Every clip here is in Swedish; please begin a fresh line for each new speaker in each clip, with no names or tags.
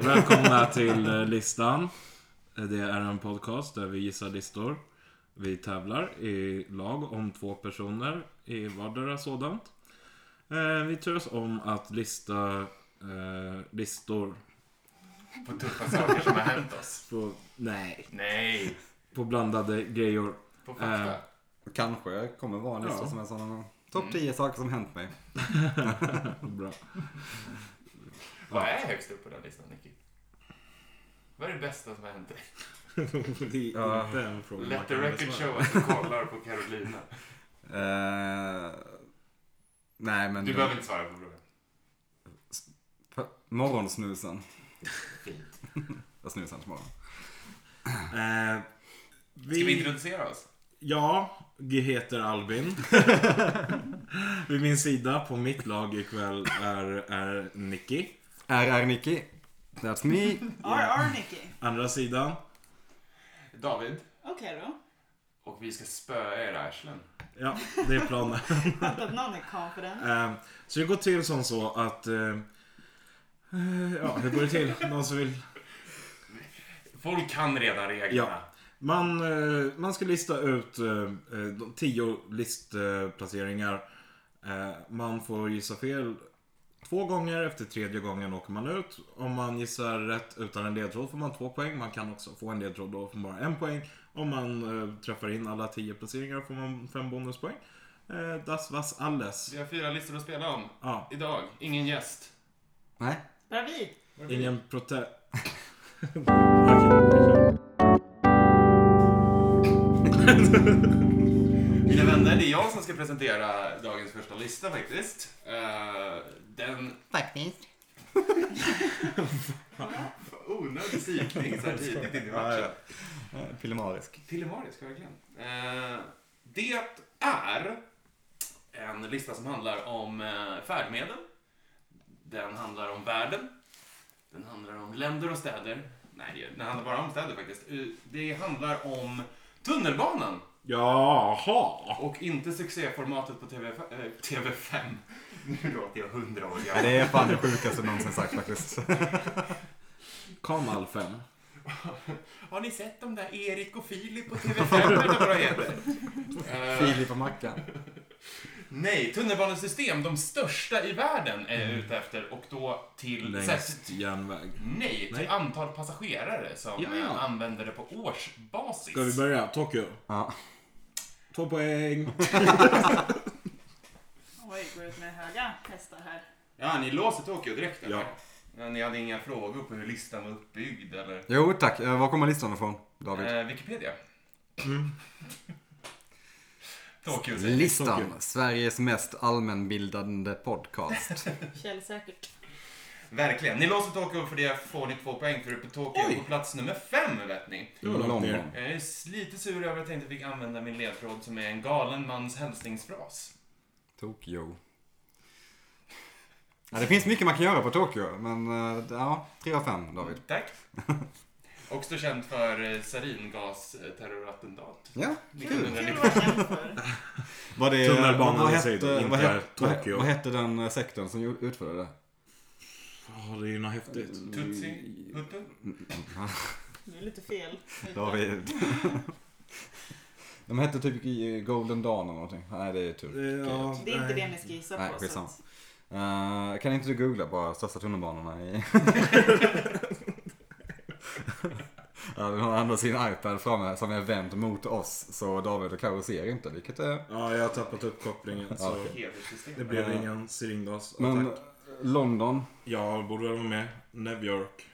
Välkomna till eh, listan. Eh, Det är en podcast där vi gissar listor. Vi tävlar i lag om två personer i vardera sådant. Eh, Vi turas om att lista eh, listor
På tuffa saker som har hänt oss.
på, nej,
Nej,
på blandade grejor.
på fakta.
Eh.
Kanske jag kommer vara en lista
Ja.
som är sån. här, Topp 10 saker som hänt mig.
Bra.
Vad är högst upp på den listan, Nicky? Vad är det bästa som har hänt dig?
Det är
Ja.
inte en fråga man
Let the
kan
record
besvara.
show att du kollar på Carolina.
Eh, nej men...
Du behöver inte svara på frågan.
P- Morgonsnusen.
Fint.
Jag snusar inte på morgonen.
Eh,
Ska vi introducera oss?
Ja, G heter Albin. Vid min sida på mitt lag ikväll är, är Nicky.
RR Nicky. That's me.
RR Nicky.
Andra sidan.
David,
Okej då.
och vi ska spöa era arslen.
Ja, det är planen.
Fattar att någon är confident.
Eh, så det går till som så att... eh, eh, ja, hur går det till? Någon som vill?
Folk kan redan reglerna.
Man, eh, man ska lista ut eh, eh, de tio listplaceringar. Eh, man får gissa fel två gånger. Efter tredje gången åker man ut. Om man gissar rätt utan en ledtråd får man två poäng. Man kan också få en ledtråd då får man bara en poäng. Om man eh, träffar in alla tio placeringar får man fem bonuspoäng. Eh, das was alles.
Vi har fyra listor att spela om.
Ja,
Idag, ingen gäst.
Nej.
Bravid.
ingen protest.
Mina vänner, det är jag som ska presentera dagens första lista faktiskt. Eh, den...
Faktiskt.
Onödig psykning så här tidigt in i matchen.
Filimarisk.
Pillemarisk, verkligen. Eh, det är en lista som handlar om eh, färdmedel. Den handlar om världen. Den handlar om länder och städer. Nej, det- den handlar bara om städer faktiskt. Eh, Det handlar om tunnelbanan
Jaha!
och inte succéformatet på TV, eh, TV5. Nu låter jag hundra år
Ja,
gammal.
det är fan det sjukaste någonsin sagt faktiskt.
Kamal 5.
Har ni sett de där Erik och Filip på TV5 eller vad de heter? Eh,
Filip och Mackan.
Nej, tunnelbanesystem, de största i världen är jag ute efter och då till
Mm. Längst
sätt,
järnväg.
nej, till
Nej.
antal passagerare som
Ja, ja.
eh, använder det på årsbasis.
Ska vi börja? Tokyo.
Ja.
Två poäng.
Oj, går ut med höga hästar här.
Ja, ni låser Tokyo direkt eller?
Ja.
Ja. Ni hade inga frågor på hur listan var uppbyggd eller?
Jo tack. Eh, Var kommer listan ifrån?
Mm.
David?
Eh, Wikipedia. Tokyo säger vi.
Listan. Sveriges mest allmänbildande podcast.
Källsäkert.
Verkligen. Ni låser Tokyo för det får ni två poäng för på Tokyo
Oj.
på plats nummer fem vet ni.
Det var långt ner.
London.
Jag är lite sur över att jag inte fick använda min ledtråd som är en galen mans hälsningsfras.
Tokyo. Ja, det finns mycket man kan göra på Tokyo, men eh, ja, 3 av 5 David.
Tack. Också känd för eh, saringasterrorattentat.
Ja,
Kul,
1990.
kul att vara känd för.
Var det,
Tunnelbanan
vad
i
hette-
sig, inte
vad hette-
Tokyo.
Vad hette den eh, sektorn som gjorde- utförde det?
Ja, det är ju något häftigt.
Tutsi? Hutu?
Det är lite fel.
David. De hette typ i Golden Dawn eller någonting. Nej, det är tur.
Ja,
Det är inte det ni ska gissa
Nej,
på. så
skitsamma.
att-
Eh, kan inte du googla bara största tunnelbanorna i... Ja, vi har ändå sin iPad framme som är vänd mot oss så David och Karo ser inte vilket är...
Ja, jag har tappat upp kopplingen så
Ja,
det
Hederssystem.
blev
Ja.
ingen syringas.
Men
Men...
London.
Jag borde väl vara med. New York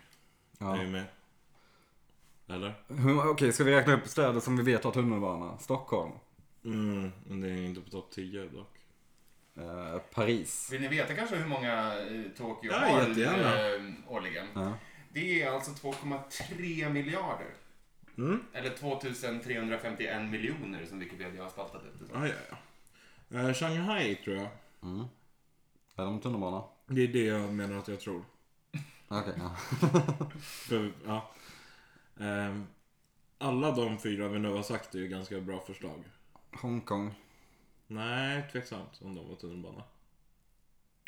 Ja.
är ju med. Eller?
Hur- Okej, ska vi räkna upp städer som vi vet har tunnelbana? Stockholm,
Mm, men det är inte på topp 10 dock.
eh, Paris.
Vill ni veta kanske hur många eh, Tokyo
Ja,
har
jättegärna.
eh, årligen?
Ja.
Det är alltså 2,3 miljarder.
Mm.
Eller 2351 miljoner som Wikipedia har spaltat efter.
Ah, ja, ja. Eh, Shanghai tror jag.
Mm. Är de tunnelbana?
Det är det jag menar att jag tror.
Okej, ja.
För, ja. Ehm, alla de fyra vi nu har sagt är ju ganska bra förslag.
Hongkong.
Nej, tveksamt om de var tunnelbana.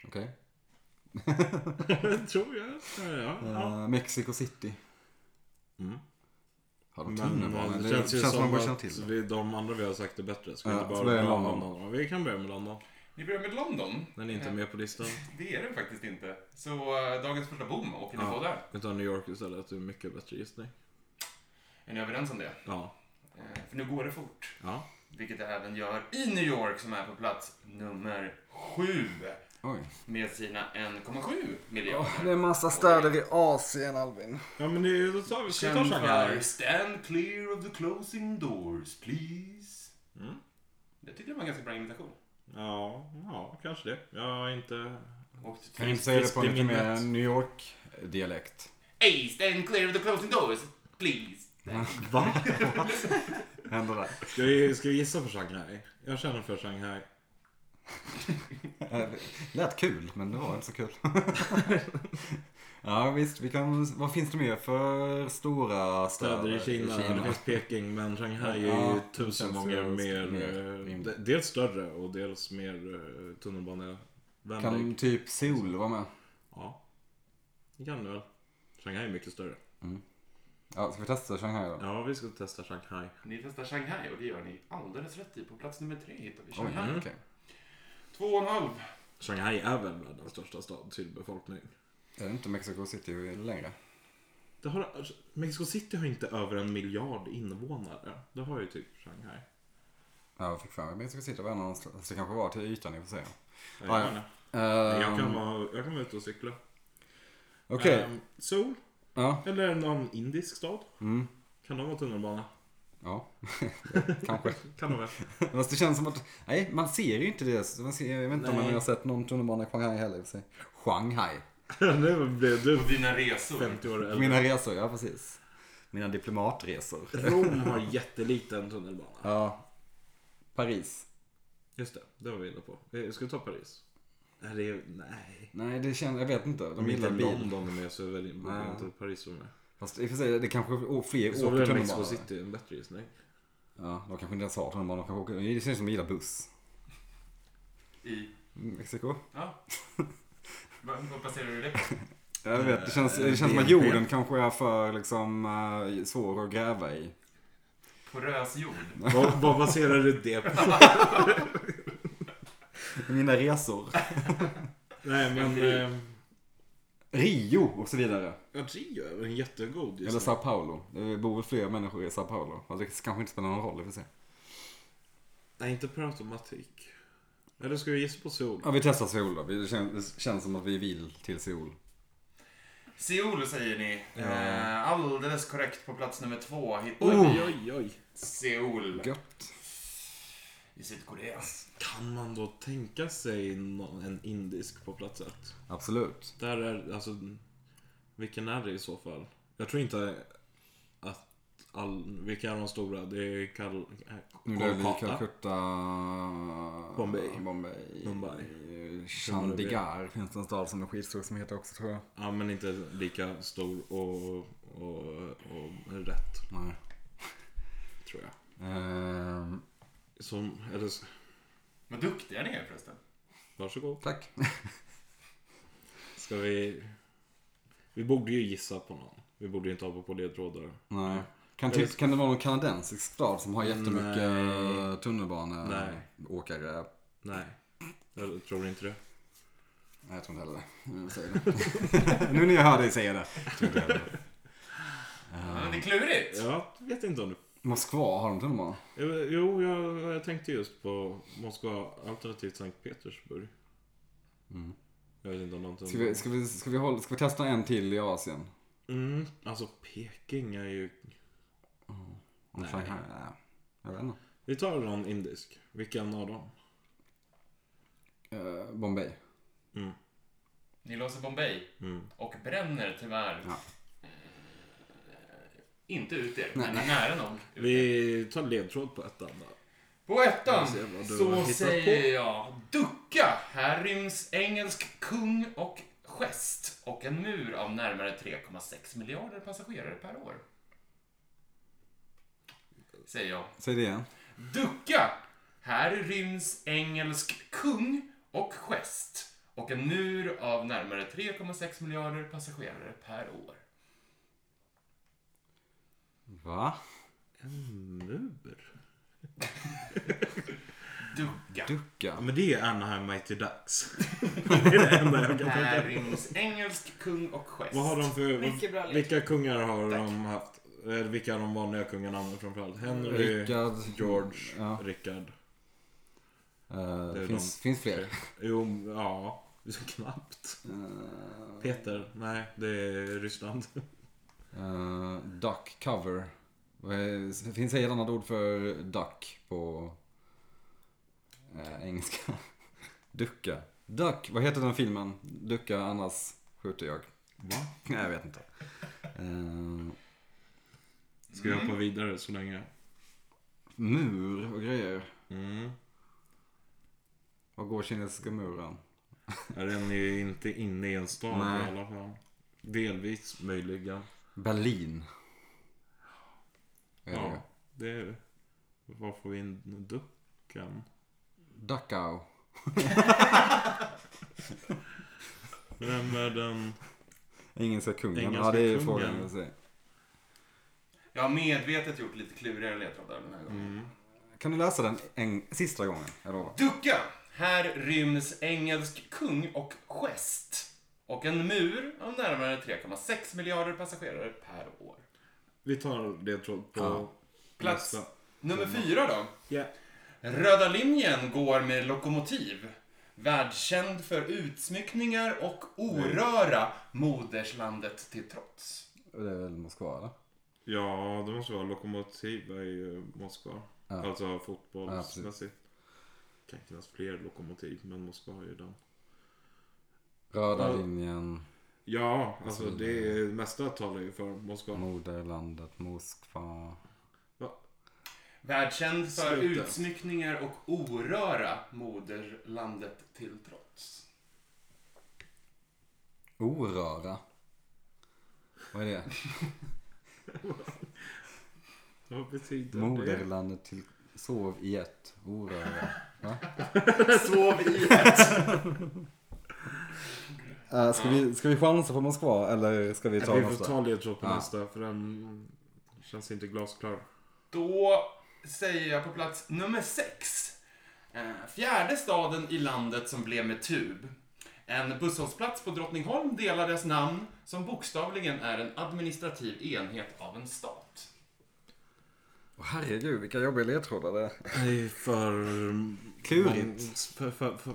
Okej.
Tror jag. Ja, ja. ja.
Eh, Mexico City.
Mm.
Har de
Men eh,
tunnelbanan?
det känns ju som
man borde känna
att
till det.
vi, de andra vi har sagt är bättre. Ska vi
Ja,
inte bara
så börjar
börja med
London.
London? Vi kan börja med London.
Vi börjar med London.
Den är inte
Eh,
med på listan.
Det är det faktiskt inte. Så eh, dagens första bom åker ni
Ja.
på där.
Vi tar New York istället. Det är en mycket bättre gissning.
Är ni överens om det?
Ja.
Eh, För nu går det fort.
ja.
Vilket det även gör i New York som är på plats nummer sju
Oj.
med sina 1,7 miljarder.
det är en massa städer i Asien, Albin.
Ja men det, är ju- då tar vi, ska vi ta
Känd för
Shanghai?
Stand clear of the closing doors, please.
Mm.
Jag tyckte det var en ganska bra invitation.
Ja, ja, kanske det. Jag har inte...
Och
Kan du inte säga det på en lite mer
Fiskminnet.
New York-dialekt?
Hey, stand clear of the closing doors, please.
Va?
Händer det?
Ska vi, ska vi gissa för Shanghai? Jag känner för Shanghai.
Eh, Lät kul, men det var inte så kul. ja, visst. Vi kan, vad finns det mer för stora städer,
Städer i Kina. Det finns Peking, men Shanghai är
Ja,
ju
det
tusen
känns
gånger
ju
mer...
mer
eh,
rimligt.
de- dels större och dels mer eh, tunnelbanevänlig.
Kan typ Seoul vara med?
Ja. Det kan du väl. Shanghai är mycket större.
Ja, ska vi testa Shanghai då?
Ja, vi ska testa Shanghai.
Ni testar Shanghai och det gör ni alldeles rätt i. På plats nummer tre hittar vi
Oj,
Shanghai.
Mm.
okej.
Två och en halv.
Shanghai är väl världens största stad till befolkning?
Är det inte Mexico City längre?
Det har, alltså, Mexico City har inte över en miljard invånare. Det har ju typ Shanghai.
Ja, jag fick för mig att Mexico City var en annan stad. Så det kanske var till ytan i och för sig.
Jag,
Ah, Ja, ja.
menar,
Ehm,
jag, kan vara, jag kan vara ute och cykla.
Okej.
Ehm, Seoul,
Ja.
eller någon indisk stad.
Mm.
Kan de ha tunnelbana?
Ja. kanske.
Kan de väl?
Fast det känns som att, nej man ser ju inte det. Man ser, jag vet inte om
Nej.
man har sett någon tunnelbana i Shanghai heller i och för sig. Shanghai.
nu blev du
På dina resor.
50 år
På
äldre.
mina resor, ja precis. Mina diplomatresor.
Rom har jätteliten tunnelbana.
Ja. Paris.
Just det, det var vi inne på. Eh, Ska vi ta Paris? Nej, det är, nej.
Nej, det känns, jag vet inte.
De
De
är inte
gillar bil.
London med så är det
Nej.
inte Paris som är.
Fast i och för sig, det kanske är fler
Så
åker
väl
tunnelbana.
Mexico City en bättre gissning.
Ja, de kanske inte ens har tunnelbana. De kanske åker, det känns som de gillar buss. Mm,
I...
Mexiko.
Ja. Vad vad baserar du det på?
Jag vet, det känns, det
Eh,
känns som att
BNP.
jorden kanske är för liksom eh, svår att gräva i.
På rösjord?
Vad, vad baserar du det på?
Mina resor.
Nej men... Eh,
Rio och så vidare.
ja, Rio är väl en jättegod
Eller
gissning.
Sao Paulo. Det bor väl fler människor i Sao Paulo. Alltså, det kanske inte spelar någon roll i och för sig.
Nej, inte per automatik. Eller ska vi gissa på sol?
Ja, vi testar Seoul då. Det känns, det känns som att vi vill till Seoul.
Seoul säger ni.
Ja.
Eh, alldeles korrekt på plats nummer två hittar
Oj,
vi
oj, oj.
Seoul.
Gött.
I Sydkorea.
Kan man då tänka sig någon, en indisk på plats ett?
Absolut.
Där är, alltså, vilken är det i så fall? Jag tror inte att all, vilka är de stora? Det är Kal,
Nu är vi i
Kolkata.
Calcutta...
Bombay.
Mumbai.
Mumbai.
Chandigarh finns det en stad som är skitstor som heter också tror jag.
Ja, men inte lika stor och, och, och rätt,
Nej.
tror jag.
Ehm,
Som, eller, s-
Vad duktiga ni är förresten.
varsågod.
tack.
Ska vi... Vi borde ju gissa på någon. Vi borde ju inte hoppa på ledtrådar.
Nej. Kan, typ, kan det vara någon kanadensisk stad som har jättemycket
Nej. Nej.
tunnelbaneåkare? Nej.
Nej. Jag tror inte det.
Nej, jag tror inte heller det. Jag säger det. nu när jag hör dig säga det. tror jag inte heller det.
Men
Eh,
det är klurigt.
Jag vet inte om du...
Moskva, har de tunnelbana?
Jo, jag, jag tänkte just på Moskva alternativt Sankt Petersburg.
Mm.
Jag vet inte om någonting...
Ska vi, ska, vi, ska, vi hålla, ska vi testa en till i Asien?
Mm, alltså Peking är ju...
Om
Mm. Nej.
Shanghai? Nej. Jag vet inte.
Vi tar någon indisk. Vilken av dem?
Eh, Bombay.
Mm.
Ni låser Bombay
Mm.
och bränner tyvärr.
Ja.
Eh, Inte ut er,
Nej,
men nära nog. ut er.
Vi tar ledtråd på ettan då.
På ettan
Vi ser vad du har
så
hittat
säger
på.
jag ducka. Här ryms engelsk kung och gest och en mur av närmare 3,6 miljarder passagerare per år. Säger jag.
Säg det igen.
Ducka! Här ryms engelsk kung och gest och en mur av närmare 3,6 miljarder passagerare per år.
Va?
En mur?
Ducka.
Ja,
Ducka?
men det är Anaheim Mighty Ducks. det är det enda jag kan tänka mig.
Näringsengelsk kung och gest.
Vad har de för...
Mycket bra lek.
Vilka kungar har
Tack.
de haft? Eller vilka är de vanliga kunganamnen framförallt? Henry,
Rickard.
George,
Ja.
Rickard.
Eh,
Det är
finns,
de
finns fler?
Jo, ja. Så knappt.
Eh,
Peter. Nej, det är Ryssland.
eh, duck cover. Vad är- Finns det ett annat ord för duck på eh, engelska? Ducka. Duck. Vad heter den filmen? Ducka, annars skjuter jag.
Va?
Nej, jag vet inte. Eh,
Ska jag hoppa vidare så länge?
mur och grejer.
Mm.
Var går kinesiska muren?
Ja, Den är ju inte inne i en stad
Nej.
i alla fall. Delvis möjliga.
Berlin. Är
Ja,
det?
det är det. Var får vi in duckan?
Dachau.
Vem är den?
Engelska kungen. ja,
Engelska
det är
kungen.
frågan. jag säger.
Jag har medvetet gjort lite klurigare ledtrådar den här gången.
Kan du läsa den en, sista gången? Jag lovar.
Ducka! Här ryms engelsk kung och gest. Och en mur av närmare 3,6 miljarder passagerare per år.
Vi tar det tror jag, på
Ja.
Plats
nästa.
nummer fyra då.
Ja.
Röda linjen går med lokomotiv. Världskänd för utsmyckningar och oröra, moderslandet till trots.
Och Det är väl Moskva eller?
ja, det måste vara Lokomotiv är ju Moskva.
Ja.
Alltså
Ja, absolut.
fotbollsmässigt. kan finnas fler lokomotiv, men Moskva har ju den.
Röda
Ja.
linjen,
Ja, alltså det är, mesta talar ju för
Mm.
Moskva.
moderlandet Moskva.
Världskänd för
Sluta.
utsmyckningar och oröra, moderlandet till trots.
Oröra. Vad är det?
Vad betyder det?
Moderlandet till... Sov i ett. Oröra. Va?
Sov i
Eh, ska, vi, ska vi chansa på Moskva eller ska vi ta
Vi
nästa?
får ta ledtråd på
Ja.
nästa, för den känns inte glasklar.
Då säger jag på plats nummer sex. Eh, Fjärde staden i landet som blev med tub. En busshållplats på Drottningholm delar dess namn som bokstavligen är en administrativ enhet av en stat.
Åh, herregud, vilka jobbiga ledtrådar det är.
Det är för... mm,
Klurigt.
För, för, för, för,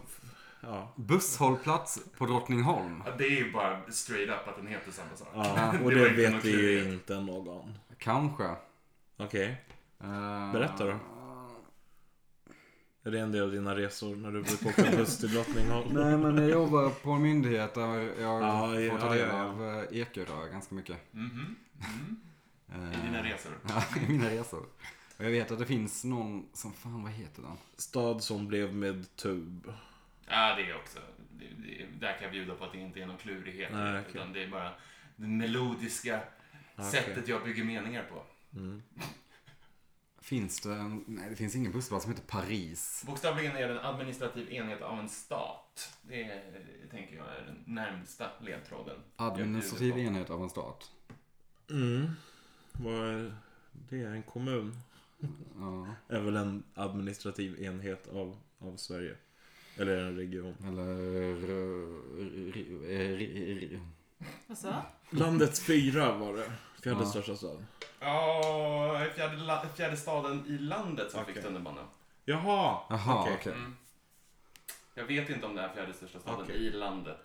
ja.
Busshållplats på Drottningholm.
Ja, Det är ju bara straight up att den heter samma sak.
ja, och
Det
det,
var inte något
vet vi ju
klurigt.
inte någon.
Kanske.
Okej,
Eh,
berätta då. Är det en del av dina resor när du brukar åka buss till Drottningholm?
Nej men jag jobbar på en myndighet där jag
Ja,
får
ja,
ta del
ja, ja.
av eh, ekerö ganska mycket.
Mhm. Mm.
Eh,
I dina resor.
Ja, i mina resor. Och jag vet att det finns någon som, fan vad heter den?
Stad som blev med tub.
Ja, det är också. Det, det, där kan jag bjuda på att det inte är någon klurighet.
Nej, okej.
Utan det är bara det melodiska
Okej.
sättet jag bygger meningar på.
Mm.
Finns det en, nej det finns ingen bussbana som heter Paris.
Bokstavligen är den administrativ enhet av en stat. Det eh, tänker jag är den närmsta ledtråden.
Administrativ
Jag bjuder
enhet av en stat.
Mm. Vad är det? Är en kommun?
Ja,
Är väl en administrativ enhet av, av Sverige? Eller en region?
eller... eh, eh, eh,
Vad sa
Landets fyra var det. Fjärde
Ja.
största stad.
på. Ja, fjärde, la- fjärde staden i landet som fick
Okej.
tunnelbana.
Jaha!
Jaha,
Okej.
okej.
Mm. Jag vet inte om det är fjärde största staden
Okej.
i landet.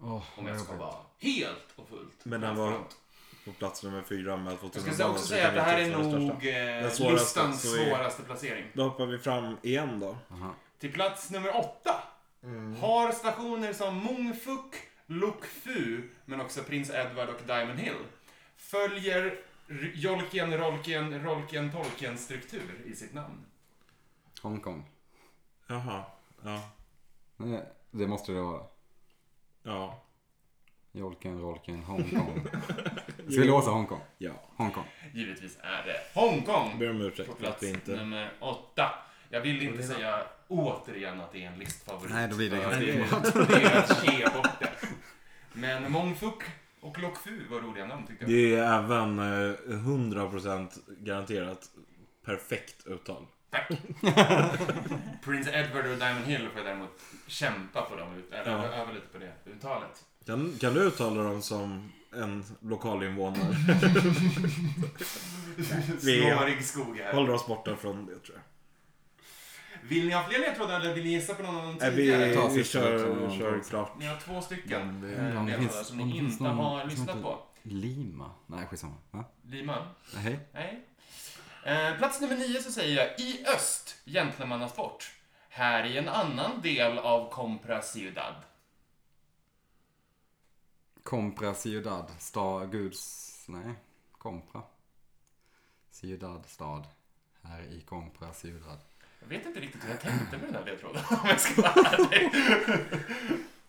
Åh,
Om
vad
jag ska
jobbigt.
vara helt och fullt.
Men den var på plats nummer fyra med två
Jag ska också säga att det här är nog eh,
svåraste,
listans
så är-
svåraste placering.
Då hoppar vi fram igen då.
Jaha.
Till plats nummer åtta har stationer som Mungfuk, Lokfu, men också Prins Edward och Diamond Hill. Följer R- Jolken, Rolken, Rolken, Tolken struktur i sitt namn.
Hongkong.
Jaha. Ja.
Nej, det måste det vara.
Ja.
Jolken, Rolken, Hongkong. Ska vi låsa Hongkong?
Ja.
Hongkong.
Givetvis är det Hongkong
Ber om ursäkt
på
för att
plats
vi inte...
nummer åtta. Jag vill inte säga återigen att det är en listfavorit.
Nej, då blir det
för
helt
det, det är att ge bort det. Men Mångfuck och Lockfu var roliga namn tycker jag.
Det är även eh, 100% garanterat perfekt uttal.
Tack! Prince Edward och Diamond Hill får jag däremot kämpa på dem, ut- eller
Ja.
öva lite på det uttalet.
Kan, kan du uttala dem som en lokalinvånare? Vi-
Snårig skog här.
Håller oss borta från det tror jag.
Vill ni ha fler ledtrådar eller vill ni gissa på någon av de
Nej, vi,
tidigare?
tar
vi
sista
kör,
ledtråden.
kör klart.
Ni har två stycken
Mm,
eh,
om det
ledtrådar
finns-
som
om
ni
det finns
inte
någon
har
som
lyssnat
inte-
på.
Lima? Nej, skitsamma. Va?
Lima?
Hej.
Nej. Eh, plats nummer nio så säger jag i öst, gentlemannasport. Här i en annan del av Compra Ciudad.
Compra Ciudad, stad, guds... Nej, Compra. Ciudad, stad. Här i Compra Ciudad.
Jag vet inte riktigt hur jag tänkte med den här ledtråden om jag ska vara ärlig.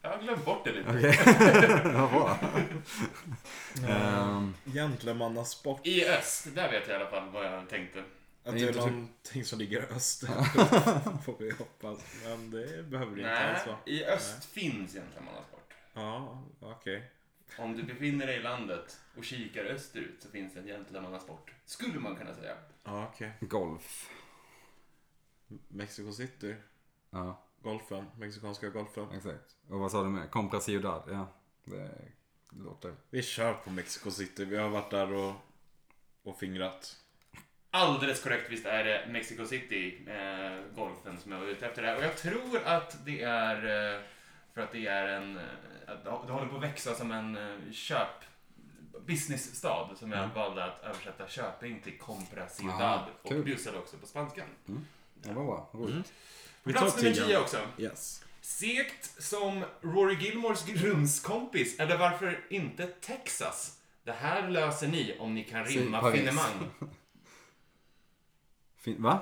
Jag har glömt bort det lite.
Okej, vad bra. Ehm,
Gentlemannasport.
I öst, där vet jag i alla fall vad jag tänkte.
Att
Det är
det är
inte typ-
någonting som ligger öster. Får vi hoppas. Men det behöver det inte
Nej,
alls vara.
i öst finns gentlemannasport.
Ja, okej.
Om du befinner dig i landet och kikar österut så finns det en gentlemannasport. Skulle man kunna säga.
Ja, okej.
golf.
Mexico City.
Ja,
Golfen. Mexikanska golfen.
exakt. Och vad sa du med? Compra Ciudad, ja. Det låter...
Vi kör på Mexico City. Vi har varit där och, och fingrat.
Alldeles korrekt, visst är det Mexico City, eh, golfen, som jag var ute efter där. Och jag tror att det är eh, för att det är en... eh, Att det håller på att växa som en eh, köp... Businessstad som jag
Mm.
valde att översätta Köping till Compra Ciudad
Ah,
och
kul.
bjussade också på spanskan.
Det var bra,
Mm.
roligt.
Vi
Plats nummer 10 också.
Yes.
Segt som Rory Gilmores rumskompis, eller varför inte Texas? Det här löser ni om ni kan
Säg
rimma
Paris.
finemang.
Fin- va?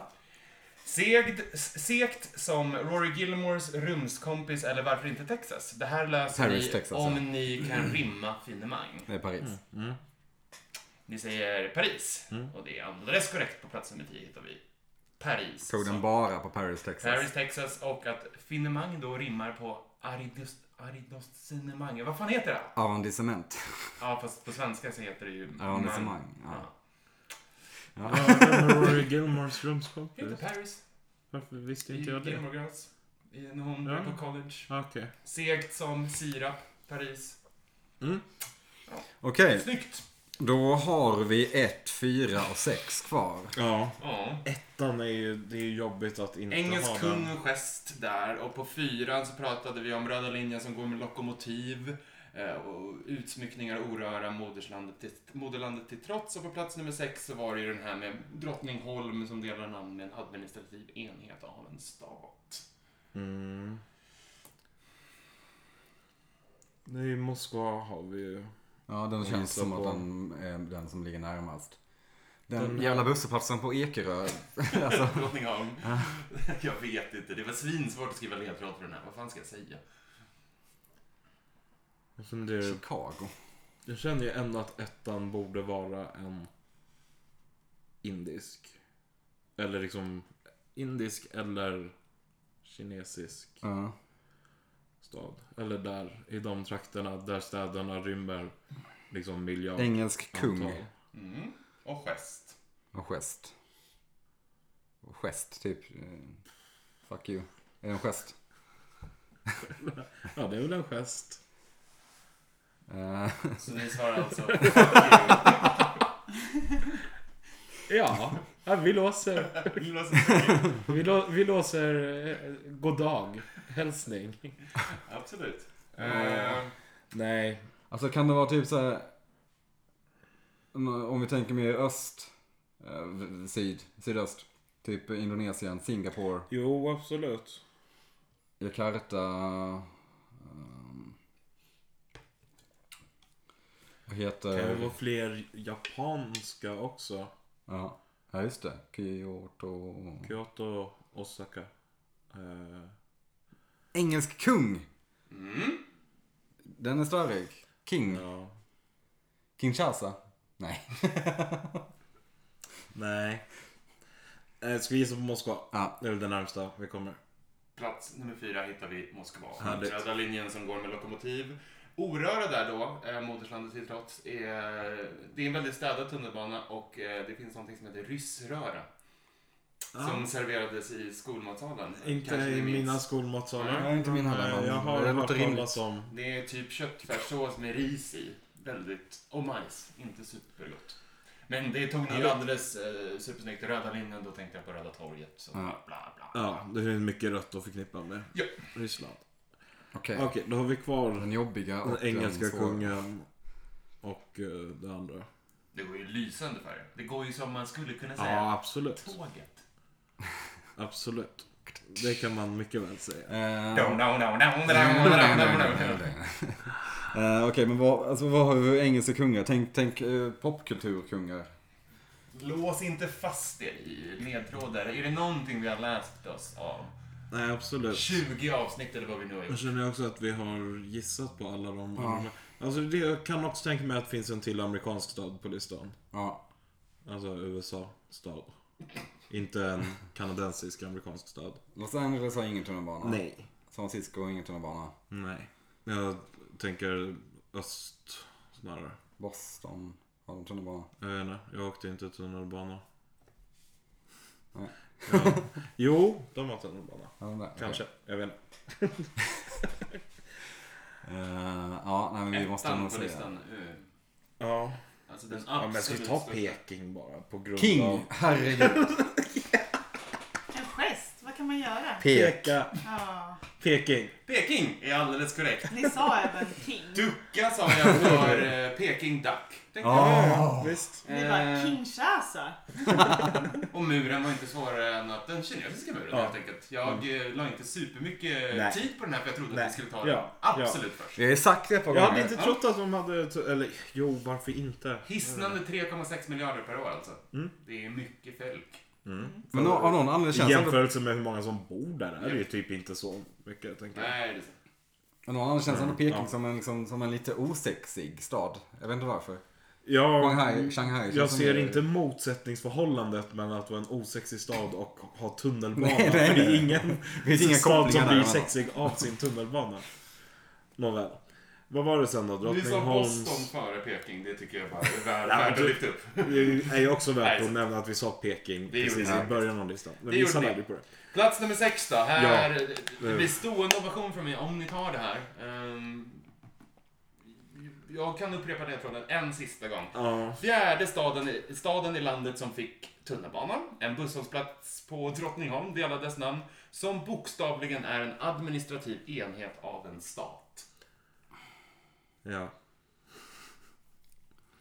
Segd, segt som Rory Gilmores rumskompis eller varför inte Texas? Det här löser
Paris,
ni
Texas,
om
ja.
ni kan rimma finemang.
Det är Paris.
Mm.
Ni säger Paris
Mm.
och det är alldeles korrekt på plats nummer 10 hittar vi Paris.
Tog den
Så
bara på Paris, Texas.
Paris, Texas och att finemang då rimmar på aridost, aridostinemang. Vad fan heter det?
Arrondissement.
Ja, fast på svenska så heter det ju...
Arrondissement.
Ja.
Ja.
Rory Gilmores
Heter
rumskompis.
Paris.
Varför visste
I
inte jag det?
Gilmore Girls. I- När hon
Ja.
var på college.
Okej.
Segt som sirap. Paris.
Okej,
Snyggt!
då har vi 1, 4 och 6 kvar.
Ja.
Ja.
Ettan är ju, det är ju jobbigt att inte ha
Engelsk
den.
kung och gest där och på fyran så pratade vi om röda linjen som går med lokomotiv eh, och utsmyckningar och oröra moderslandet till, moderlandet till trots och på plats nummer sex så var det ju den här med Drottningholm som delar namn med en administrativ enhet av en stat.
Mm. I Moskva har vi ju.
Ja, den
Jag
känns
gissar
som att
på-
den är den som ligger närmast. Den,
Den-
jävla busshållplatsen på Ekerö. alltså,
Drottningholm. Jag vet inte, det var svinsvårt att skriva ledtråd för den här. Vad fan ska jag säga?
Jag funderar.
Chicago.
Jag känner ju ändå att ettan borde vara en indisk. Eller liksom indisk eller kinesisk
Ja.
stad. Eller där, i de trakterna där städerna rymmer liksom miljard.
Engelsk kung.
antal.
Mm. Och gest.
Och gest. Och gest, typ. eh, Fuck you. Är det en gest?
Ja, det är väl en gest.
Eh,
Så ni svarar alltså...
Ja, ja vi låser.
Vill du säga?
Vi, lå, vi låser eh, goddag, hälsning.
Absolut.
Ja.
Eh,
Nej,
alltså kan det vara typ så här. om- Om vi tänker mer öst. eh, v- Syd. Sydöst. Typ Indonesien, Singapore,
jo absolut.
Jakarta. ehm, Vad
Det kan ju
heter...
vara fler japanska också.
Ja, ja just det. Kyoto.
Kyoto, Osaka. Eh,
Engelsk kung!
Mm.
Den är störig. King.
ja.
Kinshasa. Nej.
Nej. Eh, Ska vi gissa på Moskva?
Ja.
Det är väl det närmsta vi kommer.
Plats nummer fyra hittar vi Moskva.
Härligt.
Röda linjen som går med lokomotiv. Oröra där då, eh, moderslandet till trots, är, det är en väldigt städad tunnelbana och eh, det finns någonting som heter ryssröra. Som serverades i skolmatsalen.
Ah. Inte
Kanske ni
i
minns.
mina skolmatsalar.
Nej, inte min
men,
heller,
eh,
men
Jag har
Mm, det
hört
låter rimligt.
talas om.
Det är typ köttfärssås med ris i. Väldigt, och majs. Inte supergott. Men det tog ni ju alldeles eh, supersnyggt. Röda linjen, då tänkte jag på Röda torget. Så
Ja.
bla bla.
Ja, det finns mycket rött att förknippa med
Ja.
Ryssland.
Okej.
Okej, då har vi kvar
Den jobbiga och
den engelska
svåra.
kungen och eh, det andra.
Det går ju lysande färger. Det går ju som man skulle kunna säga.
Ja, absolut.
Tåget.
Absolut. Det kan man mycket väl säga.
Eh,
Dum, dum, dum, dum, dum,
Nej, nej, nej,
dum, dum,
nej,
dum.
nej, nej. Eh, Okej, men vad, alltså, vad har vi för engelska kungar? Tänk, tänk eh, popkulturkungar.
Lås inte fast er i ledtrådar. Är det någonting vi har läst oss av?
Nej, absolut.
20 avsnitt eller vad vi nu har
Jag
gjort.
känner också att vi har gissat på alla de...
Ja.
alla de- Alltså, det, jag kan också tänka mig att det finns en till amerikansk stad på listan.
Ja,
Alltså USA-stad. Inte en kanadensisk amerikansk stad.
Los Angeles har ingen tunnelbana.
Nej.
San Francisco har ingen tunnelbana.
Nej. Jag tänker öst snarare.
Boston har de tunnelbana.
Jag vet inte. Jag åkte inte tunnelbana.
Nej.
Ja. Jo, de har tunnelbana.
Ja, de där, okej.
Kanske. Jag vet inte.
Eh, ja, nej, men vi måste
Ettan
nog
på
säga.
listan. Uh,
Ja.
Alltså den
ja men
absolut
jag ska vi ta
största.
Peking bara? På grund
King!
av...
Herregud.
En gest, vad kan man göra?
Peka.
Ja,
Peking.
Peking är alldeles korrekt.
ni sa även king.
Ducka sa jag för eh, Peking Duck. Tänkte
Ja.
Ja, visst.
Ni bara
Eh.
Kinshasa.
jag. Och muren var inte svårare än att den kinesiska muren
Ja.
helt enkelt. Jag mm. la inte supermycket
Nej.
tid på den här för jag trodde
Nej.
att vi skulle ta den
Ja.
absolut först.
Vi har ju sagt det ett par
Jag hade
gånger.
inte trott att de hade... t- Eller jo, varför inte?
Hisnande 3,6 miljarder per år alltså. Det är mycket folk.
Men av av någon anledning känns
I
det ändå,
jämförelse med hur många som bor där är det ju typ inte så mycket, tänker jag.
Nej, det är sant.
av någon anledning känns det ändå Peking
Ja.
som, en, liksom, som en lite osexig stad. Jag vet inte varför.
Ja, mm,
Shanghai, Shanghai känns
jag
som
ser
det-
inte motsättningsförhållandet mellan att vara en osexig stad och ha tunnelbana.
Nej, nej,
För det är
nej.
ingen
Det finns inga
stad som
kopplingar
blir
där.
sexig av sin tunnelbana. Nåväl. Vad var det sen då?
Du sa Boston
Drottningholms...
före Peking. Det tycker jag bara är värt
Ja,
värt
du-
att lyfta upp.
Det är ju också värt
Nej,
att nämna att vi sa Peking
Det gjorde
precis
ni.
i början av listan. Men
Det
vi
gjorde ni.
sallade på det.
Plats nummer sex då.
Ja.
Här, Det blir stående ovation från mig om ni tar det här. Ehm, jag kan upprepa det från en sista gång.
Ja.
Fjärde staden i, staden i landet som fick tunnelbanan, en busshållplats på Drottningholm, delar dess namn, som bokstavligen är en administrativ enhet av en stat.
Ja.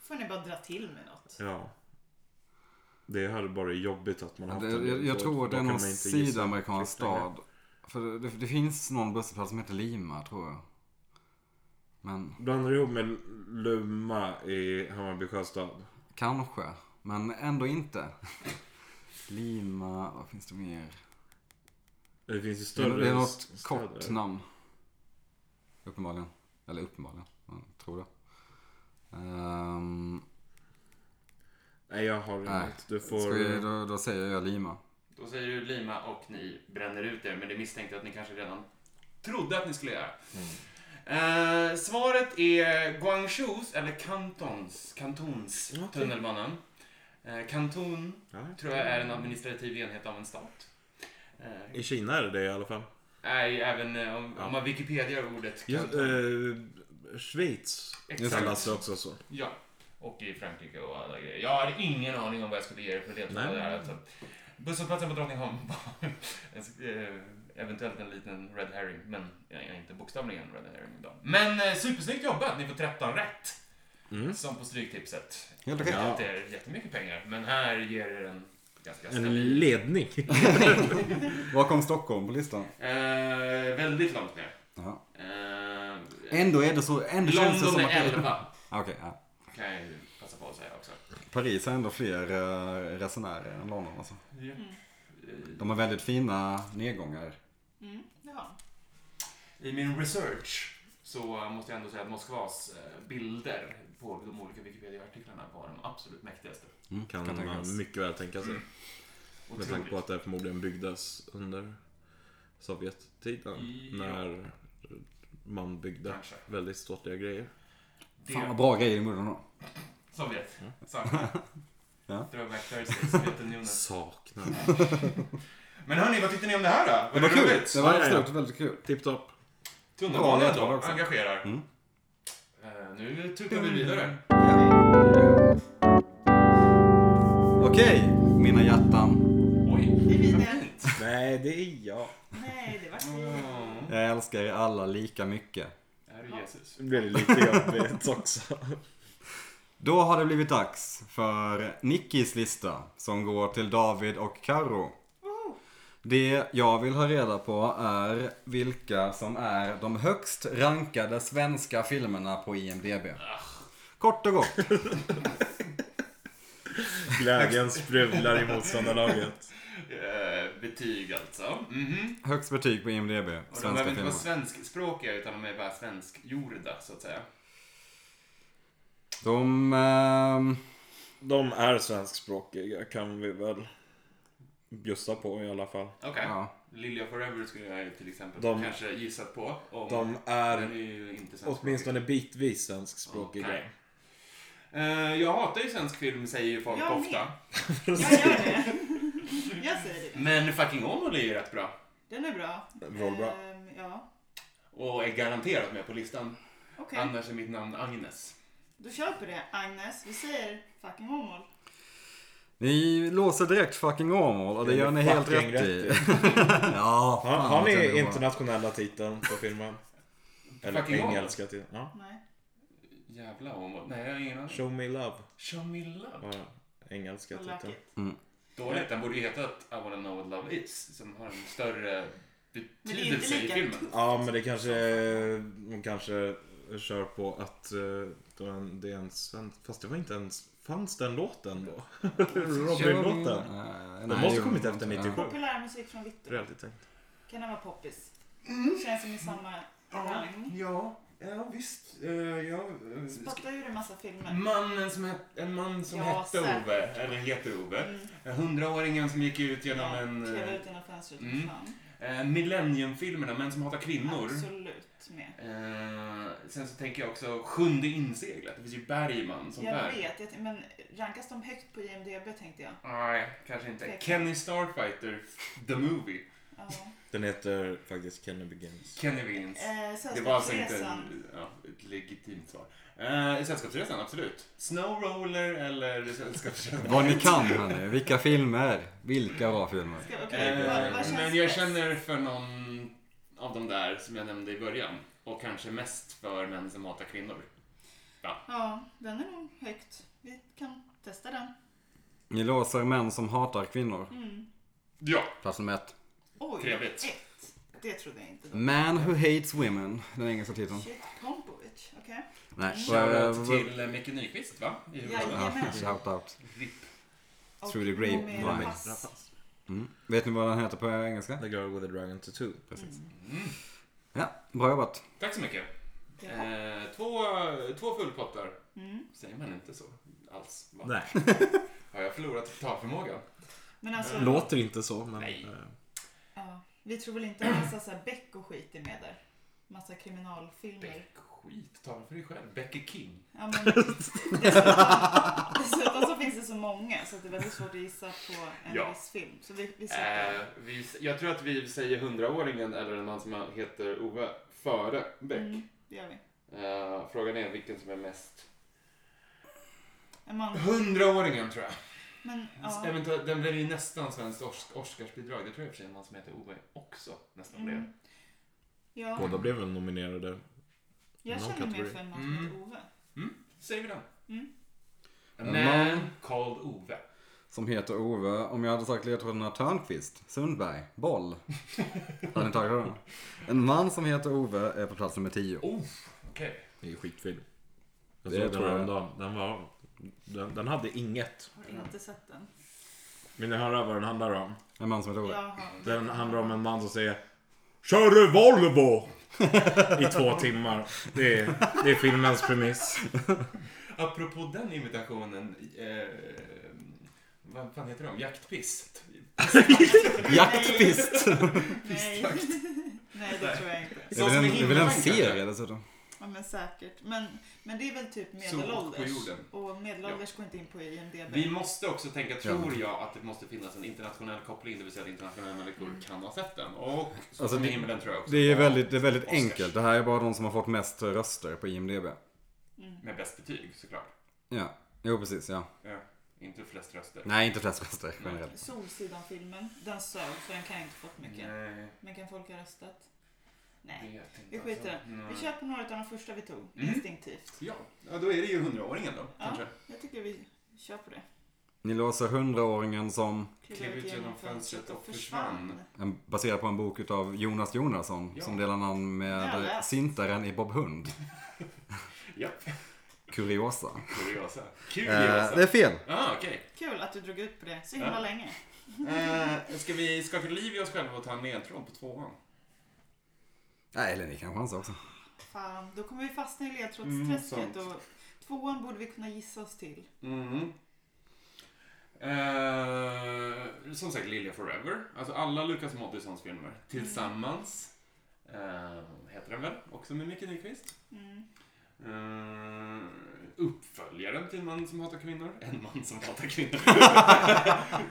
får ni bara dra till med något.
Ja. Det hade bara jobbigt att man haft
Det, jag, jag
Då-
tror att
då
det är
kan
någon
man inte gissa
sydamerikansk
riktigt längre.
stad. För det, det finns någon busshållplats som heter Lima, tror jag. Men
Blandar ihop med Luma i Hammarby sjöstad.
kanske. Men ändå inte. Lima, vad finns det mer?
Det finns ju
Det är,
större
det är något
st-
kort
städer.
namn. Uppenbarligen. Eller uppenbarligen. Man tror det. Ehm,
Nej, jag har
Nej.
inget. Du
ska
får...
vi, då, då säger jag Lima.
Då säger du Lima och ni bränner ut er, men det misstänkte jag att ni kanske redan trodde att ni skulle göra.
Mm.
Eh, svaret är Guangzhous, eller Kantons, Kantons
Okej.
tunnelbanan. Eh, kanton
Ja.
tror jag är en administrativ enhet av en stat. Eh,
I Kina är det det i alla fall.
Nej, även eh, om, om man Wikipedia ordet
Ja,
kanton.
eh, Schweiz
Exakt.
kallas det också så.
Ja. Och i Frankrike och alla grejer. Jag hade ingen aning om vad jag skulle ge er för ledtrådar
Nej.
här. Alltså. Busshållplatsen på Drottningholm var en, eh, eventuellt en liten red herring, men jag är inte bokstavligen en red herring idag. Men eh, supersnyggt jobbat, ni får 13 rätt.
Mm.
Som på Stryktipset.
Helt okej.
Ja.
Det är jättemycket pengar, men här ger er en ganska
En
stabil...
ledning.
Var kom Stockholm på listan?
Eh, väldigt långt ner.
Ja.
Eh,
Ändå är det så. Ändå känns det som
London
att...
är
det-
11,
Ah, Okej, ja.
kan jag ju passa på att säga också.
Paris har ändå fler eh, resenärer än London alltså.
Ja. Eh,
De har väldigt fina nedgångar.
Mm, det har ni.
I min research så måste jag ändå säga att Moskvas eh, bilder på de olika Wikipedia-artiklarna var de absolut mäktigaste.
Mm,
Kan man
tänkas.
mycket väl tänka sig. Med tanke på att det här förmodligen byggdes under Sovjettiden.
Ja.
När man byggde
Kanske.
väldigt ståtliga grejer.
Det-
Fan vad Mm. bra grejer i munnen då.
Sovjet. Samma.
Ja.
Throwback Thursday, Sovjetunionen.
Saknar.
Men hörni, vad tyckte ni om det här då?
Det var kul. Det var
Ja, ja, ja.
absolut väldigt kul.
Tipptopp.
Tunnelbanan
Ja, det var
då,
också.
engagerar.
Mm.
Eh, nu tutar vi vidare.
Okej, mina hjärtan.
Oj,
Det är vi
vad
där.
fint.
Nej, det är jag.
Nej, det var fint.
Mm.
Jag älskar er alla lika mycket.
Herre Jesus.
Det blir lite jobbigt också.
Då har det blivit dags för Nickis lista som går till David och Karo. Det jag vill ha reda på är vilka som är de högst rankade svenska filmerna på IMDB. Kort och gott.
Glädjen sprudlar i motståndarlaget.
Eh, betyg alltså. Mhm.
Högst betyg på IMDB.
Och de
Svenska
behöver inte vara
filmer.
svenskspråkiga utan de är bara svenskgjorda så att säga.
De... ehm,
De är svenskspråkiga kan vi väl bjussa på i alla fall.
Okej.
ja.
Lilja Forever skulle jag ju till exempel
De-
kanske gissat på. Om,
De
den är
är
ju inte svenskspråkig.
åtminstone bitvis
Ja,
svenskspråkiga.
nej. Eh, jag hatar ju svensk film säger ju folk
Jag med.
ofta.
Jag gör det. Jag säger det.
Men fucking Åmål är ju rätt bra.
Den är bra.
Rollbra.
Ehm, Ja,
Och är garanterat med på listan.
okej.
Annars är mitt namn Agnes.
Då kör vi på det, Agnes. Vi säger fucking Åmål.
Ni låser direkt fucking Åmål och det
Ja,
gör
det
ni
är
helt
fucking
rätt i. ja,
Har,
fan,
har
vad
ni
trevligt det var.
internationella titeln på filmen? Eller
Fucking
engelska titeln? Ja.
Nej.
Jävla Åmål. Nej, jag har ingen aning.
Show me love
Show me love.
var engelska
Vad
titeln.
lökigt.
Dåligt. Den borde ju heta att I wanna know what love is. Som har en större
Men det är inte
betydelse i
lika
filmen.
tufft.
Ja, men det kanske... De kanske kör på att eh, det var en- det är en svensk... Fast det var inte ens... Fanns den låten då? Robin-låten?
Eh,
Den
nej,
måste
jo,
kommit efter
inte.
97.
Populärmusik från Victor.
Reality tänkt.
Kan den vara poppis? Känns som i samma rang.
ja, ja visst. Eh, ja, eh,
Spottar ur en massa
Mm.
filmer.
Mannen som het, en man som
Ja,
hette
säkert.
Ove, eller heter Ove.
Mm.
Eh, Hundraåringen som gick ut genom en...
Klev
eh,
ut genom fönstret.
mm.
Fan.
Eh, Millenniumfilmerna, Män som hatar kvinnor.
Absolut med.
Eh, sen så tänker jag också Sjunde inseglet. Det finns ju Bergman som
Jag
där.
vet, jag, men rankas de högt på IMDB tänkte jag.
Nej, kanske inte.
Tveksam.
Kenny Starfighter, The Movie.
Ja.
Den heter faktiskt Kenny Begins.
Kenny Wins.
Eh,
Det var alltså inte
Sällskapsresan.
en, ja, ett legitimt svar. Eh, sällskapsresan, absolut. Snow Roller eller Sällskapsresan.
Vad ni kan här nu. Vilka filmer. Vilka bra filmer.
Ska- okej, vad- vad
Eh,
känns
men jag
bäst?
känner för någon av de där som jag nämnde i början. Och kanske mest för män som hatar kvinnor.
Ja, den är nog högt. Vi kan testa den.
Ni låser män som hatar kvinnor.
Mm.
Ja,
Plats nummer ett.
Oj,
Trevligt.
ett. Det trodde jag inte. Då.
Man who hates women. Den engelska titeln.
Shit, Pompovic. Okej.
Nej. Ehm,
shoutout till eh, Micke Nyqvist va? I huvudrollen.
Ja, shoutout.
RIP.
Och
Through the grape
Noomi
vine.
Rapace.
Mm. Vet ni vad den heter på engelska?
The Girl with the Dragon Tattoo.
Precis.
Mm.
Ja, bra jobbat.
Tack så mycket.
Ja.
Eh, två, två fullpottar.
Mm.
Säger man inte så alls? Va?
Nej,
Har jag förlorat talförmågan?
Men alltså,
låter inte så men...
Nej.
eh,
ja, vi tror väl inte att massa så här Beck och skit är med där. Massa kriminalfilmer.
Beck, skit. Tala för dig själv. Becky King.
Ja, men, dessutom, dessutom så finns det så många så att det är väldigt svårt att gissa på en
Ja.
viss film. Så vi, vi söker.
Eh, vi, jag tror att vi säger hundraåringen eller en man som heter Ove före Beck.
Mm, det gör vi.
Eh, frågan är vilken som är mest...
En man.
Hundraåringen tror jag.
Men,
S-
ja.
Eventuellt, den blev ju nästan svenskt Ors- Oscarsbidrag. Det tror jag i och för sig en man som heter Ove också nästan blev.
Mm. Ja,
eh, Båda blev väl nominerade.
jag
någon
känner mer
kategori.
för en man som heter
Mm.
Ove.
Säger vi den?
Mm.
A
A
man,
man-
called Ove.
Som heter Ove. Om jag hade sagt ledtrådarna Törnqvist, Sundberg, Boll. Hade ni tagit den? En man som heter Ove är på plats nummer 10.
Oh, okej.
Det är ju skitfilm. Jag
Det
såg den
tror jag.
häromdagen. Den var... Den, den hade inget.
Har inte sett den.
Vill ni höra vad den handlar om?
En man som heter Ove.
Jag har...
Den handlar om en man som säger Kör du Volvo? I två timmar. Det är, det är filmens premiss.
Apropå den imitationen. Eh, Vad fan heter de? Jaktpist?
Jaktpist!
Nej. Nej, det tror jag inte.
Det är väl en, det är väl en serie dessutom?
Ja, men säkert. Men, men det är väl typ
på
medelålders.
jorden.
Och medelålders går inte in på IMDB.
Vi måste också tänka, tror jag, att det måste finnas en internationell koppling, det vill säga att internationella människor kan ha sett den. Och så
Alltså,
som i
det-
himlen tror jag också.
Det är
var
väldigt, det är väldigt
Oscars.
enkelt. Det här är bara de som har fått mest röster på IMDB.
Mm.
Med bäst betyg såklart.
Ja, jo precis ja.
Ja. Inte flest röster.
Nej, inte flest röster generellt.
Solsidan-filmen, den sög så den kan jag inte fått mycket.
Nej,
Men kan folk ha röstat? Nej.
vet inte.
Vi skiter i det.
alltså. Nej.
Vi köper några av de första vi tog,
Mm.
instinktivt.
Ja, ja, då är det ju hundraåringen då,
Ja.
kanske.
Jag tycker vi kör på det.
Ni låser hundraåringen som
Klev ut genom fönstret och försvann.
en, baserad på en bok utav Jonas Jonasson
Ja.
som delar namn
Ja,
med
läs.
syntaren i Bob Hund.
Ja,
Kuriosa.
kuriosa.
Eh,
Kuriosa.
det är fel.
Ah, okej.
Kul att du drog ut på det så himla
Ja.
länge.
Eh, ska vi skaka liv i oss själva och ta en ledtråd på tvåan?
Nej, eller ni kan chansa också.
Fan, då kommer vi fastna i
Mm,
ledtrådsträsket
sant.
och tvåan borde vi kunna gissa oss till.
Mm. Eh, som sagt, Lilja Forever. Alltså alla Lukas Moodyssons filmer tillsammans. Eh, heter den väl? Också med Micke Nyqvist.
Mm.
Eh, uppföljaren till Man som hatar kvinnor. En man som hatar kvinnor.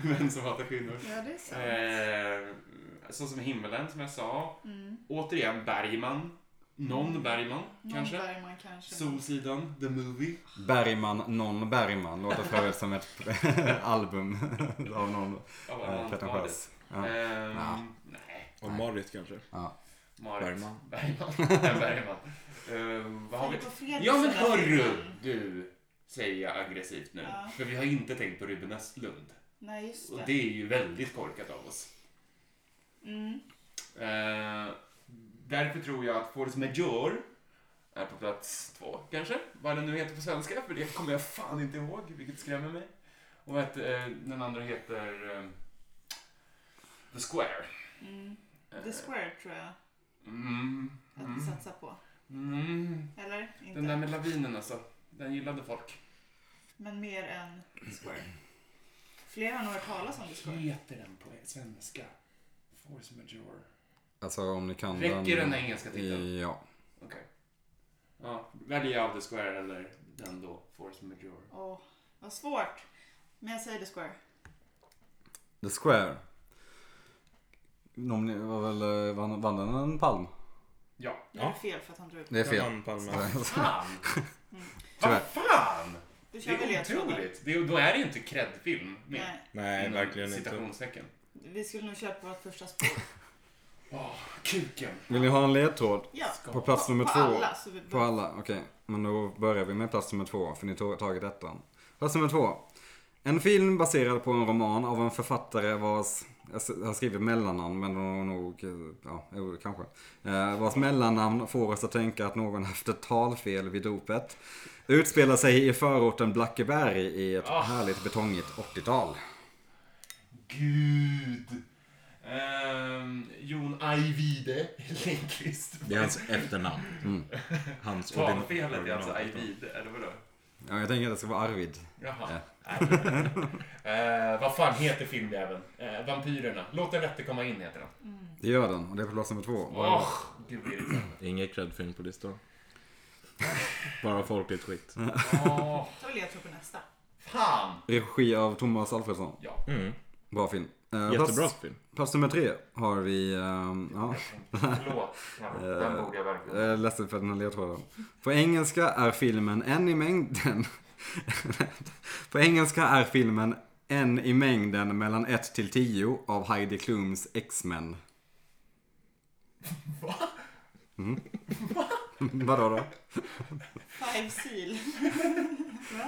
Män som hatar kvinnor.
Ja, det är sant.
Eh, så som himmelen, som jag sa.
Mm.
Återigen Bergman. Någon Bergman,
Någon
kanske.
Bergman kanske.
Solsidan, The Movie.
Bergman, non Bergman. Låter för övrigt som ett album av någon
Av
eh,
Allan Bardet.
pretentiös. Ja.
Ehm,
Ja.
Nej,
Och Marit kanske.
Ja.
Marit.
Bergman.
Bergman. Ja, Bergman. Ehm, vad har vi?
Filip och Fredrik
Ja men
som där
hörru
filmen.
du, säger jag aggressivt nu.
Ja.
För vi har inte tänkt på Ruben Östlund.
Nej, just
Och
det.
det är ju väldigt korkat av oss.
Mm.
Ehm, därför tror jag att Force Major är på plats två kanske. Vad den nu heter på svenska, för det kommer jag fan inte ihåg, vilket skrämmer mig. Och att eh, den andra heter eh, The Square.
Mm. The
Ehm,
Square tror jag
Mm.
att
mm,
vi satsar på.
Mm.
Eller? Inte.
Den där med lavinen alltså. Den gillade folk.
Men mer än Square. Fler har nog hört talas om The Square.
Heter den på svenska? Force Major.
Alltså om ni kan
Räcker den engelska titeln?
Ja.
Ja, väljer jag The Square eller den då, Force Major.
Åh, vad svårt. Men jag säger The Square.
The Square. Nom- var väl, eh, vann, vann den en palm?
Ja.
Nu är det
Ja.
fel för att han drog ut.
Det är
Jag
fel.
vann Palme.
Fan!
Mm.
Vad fan!
Du
Det
kör väl
är
ledtrådar?
otroligt. Det är, då är det inte creddfilm med.
Nej,
Nej,
Inom
verkligen inte.
citationstecken. inte.
vi skulle nog köra på vårt första spår.
Åh, kuken.
Vill ni ha en ledtråd?
Ja,
På plats nummer
på
två.
alla. Så vi,
På alla, okej. Men då börjar vi med plats nummer två, för ni tog tagit ettan. Plats nummer två. En film baserad på en roman av en författare vars, jag s- har skrivit mellannamn, men hon har nog, eh, ja, jo, kanske. Eh, vars mellannamn får oss att tänka att någon haft ett talfel vid dopet. Utspelar sig i förorten Blackeberg i ett
Ah.
härligt betongigt 80-tal.
Gud. Ehm, Jon Ajvide Lindqvist.
Det är hans efternamn. Hans
Talfelet är
original-
alltså Ajvide, eller vadå?
Ja, jag tänker att det ska vara Arvid.
Jaha. eh, vad fan heter filmjäveln? Eh, Vampyrerna. Låt den rätte komma in heter den.
Det gör den, och det är på plats nummer två. Vad är det?
Åh, gud vad irriterande.
Inget creddfilm på listan. Bara folkligt skit.
Åh,
ta väl ledtråd på nästa.
fan!
Regi av Thomas Alfredsson.
Ja.
Mm.
Bra film. Eh, plats-
Jättebra film.
Plats nummer tre har vi, ehm, ja,
Förlåt. Ja, Den borde jag
jag
verkligen...
är ledsen för den här ledtråden. På engelska är filmen en i mängden. På engelska är filmen en i mängden mellan 1 till 10 av Heidi Klums X-Men. Va? Mm. Vadå då?
Five Seal.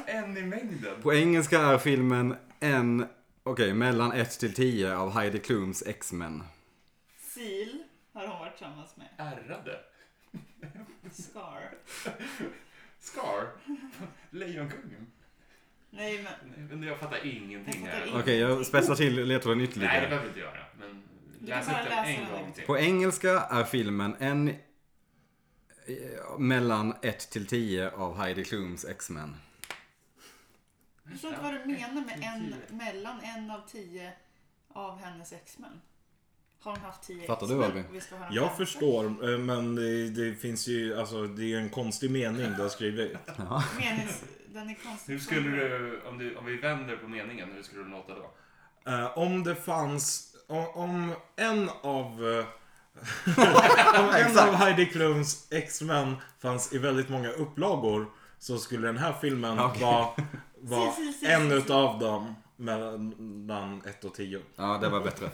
En i mängden.
På engelska är filmen en, okej, mellan 1 till 10 av Heidi Klums X-Men.
Seal har hon varit tillsammans med.
Ärrade.
Scar.
Scar. Lejonkungen.
Nej, men
Nej, men jag fattar ingenting
Jag fattar
här.
Okej, jag spetsar till ledtråden ytterligare.
Nej, det behöver vi inte göra. Men
kan
läs upp
bara
den
läsa
en
den.
gång till.
På engelska är filmen en eh, mellan 1 till 10 av Heidi Klums X-Men.
Jag förstår inte vad du menar med en, mellan en av tio av hennes ex-män. Har hon haft tio
Fattar du,
ex-män
Albin?
och vi ska ha den
Jag
femte?
förstår, eh, men det, det finns ju, alltså det är en konstig mening du har skrivit.
Menings, den är konstig.
Hur skulle du, om, du, om vi vänder på meningen, hur skulle det låta då?
Eh, om det fanns, om, om en av eh, om en av Heidi Klums X-Men fanns i väldigt många upplagor så skulle den här filmen
Okej.
vara, vara
Si, si, si,
en
si, si.
utav dem mellan 1 och 10.
Ja, det var bättre.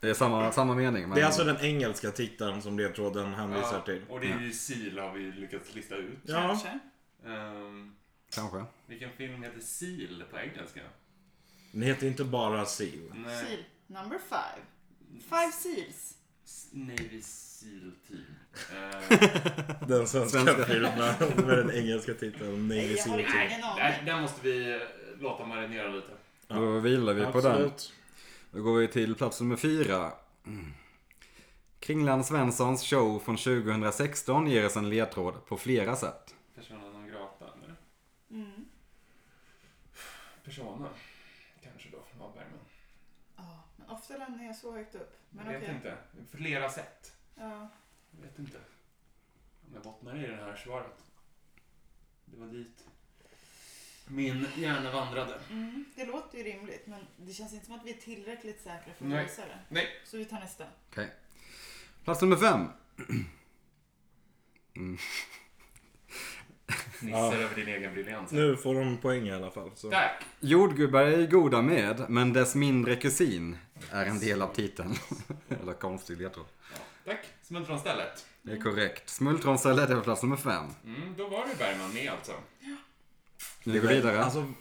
Det är samma, samma mening. Men...
Det är alltså den engelska titeln som ledtråden hänvisar till.
Och det är ju SIL har vi lyckats lista ut.
Ja.
Kanske.
Ehm,
Kanske.
vilken film heter SIL på engelska?
Den heter inte bara Siv.
Nej.
Seal. Number five. Five seals.
S- Navy SEAL Team. Ehm,
Den svenska,
Svenska.
filmen med den engelska titeln Navy
Jag har
Seal
ingen
Team.
aning.
där, där måste vi eh, låta marinera lite.
Då vilar vi på den.
Absolut.
Då går vi till plats nummer fyra. Mm. Kringland Svenssons show från 2016 ger oss en ledtråd på flera sätt.
Persona non grata, eller?
Mm.
Persona. Kanske då, av Bergman.
Ja, men ofta lämnar jag så högt upp. Men
jag
okej.
vet inte. Flera sätt.
Ja.
Jag vet inte. Om jag bottnar i det här svaret. Det var dit min hjärna vandrade.
Mm. Det låter ju rimligt men det känns inte som att vi är tillräckligt säkra för
Nej.
att visa det.
Nej.
Så vi tar nästa.
Okej. Plats nummer fem. Mm.
Fnissar över din egen briljans.
Nu får de poäng i alla fall. Så.
Tack!
Jordgubbar är goda med, men dess mindre kusin är en del av titeln. Eller konstig ledtråd.
Ja, tack! Smultronstället.
Det är korrekt. Smultronstället är på plats nummer fem.
Mm, då var det Bergman med alltså.
Vi går vidare.
Alltså,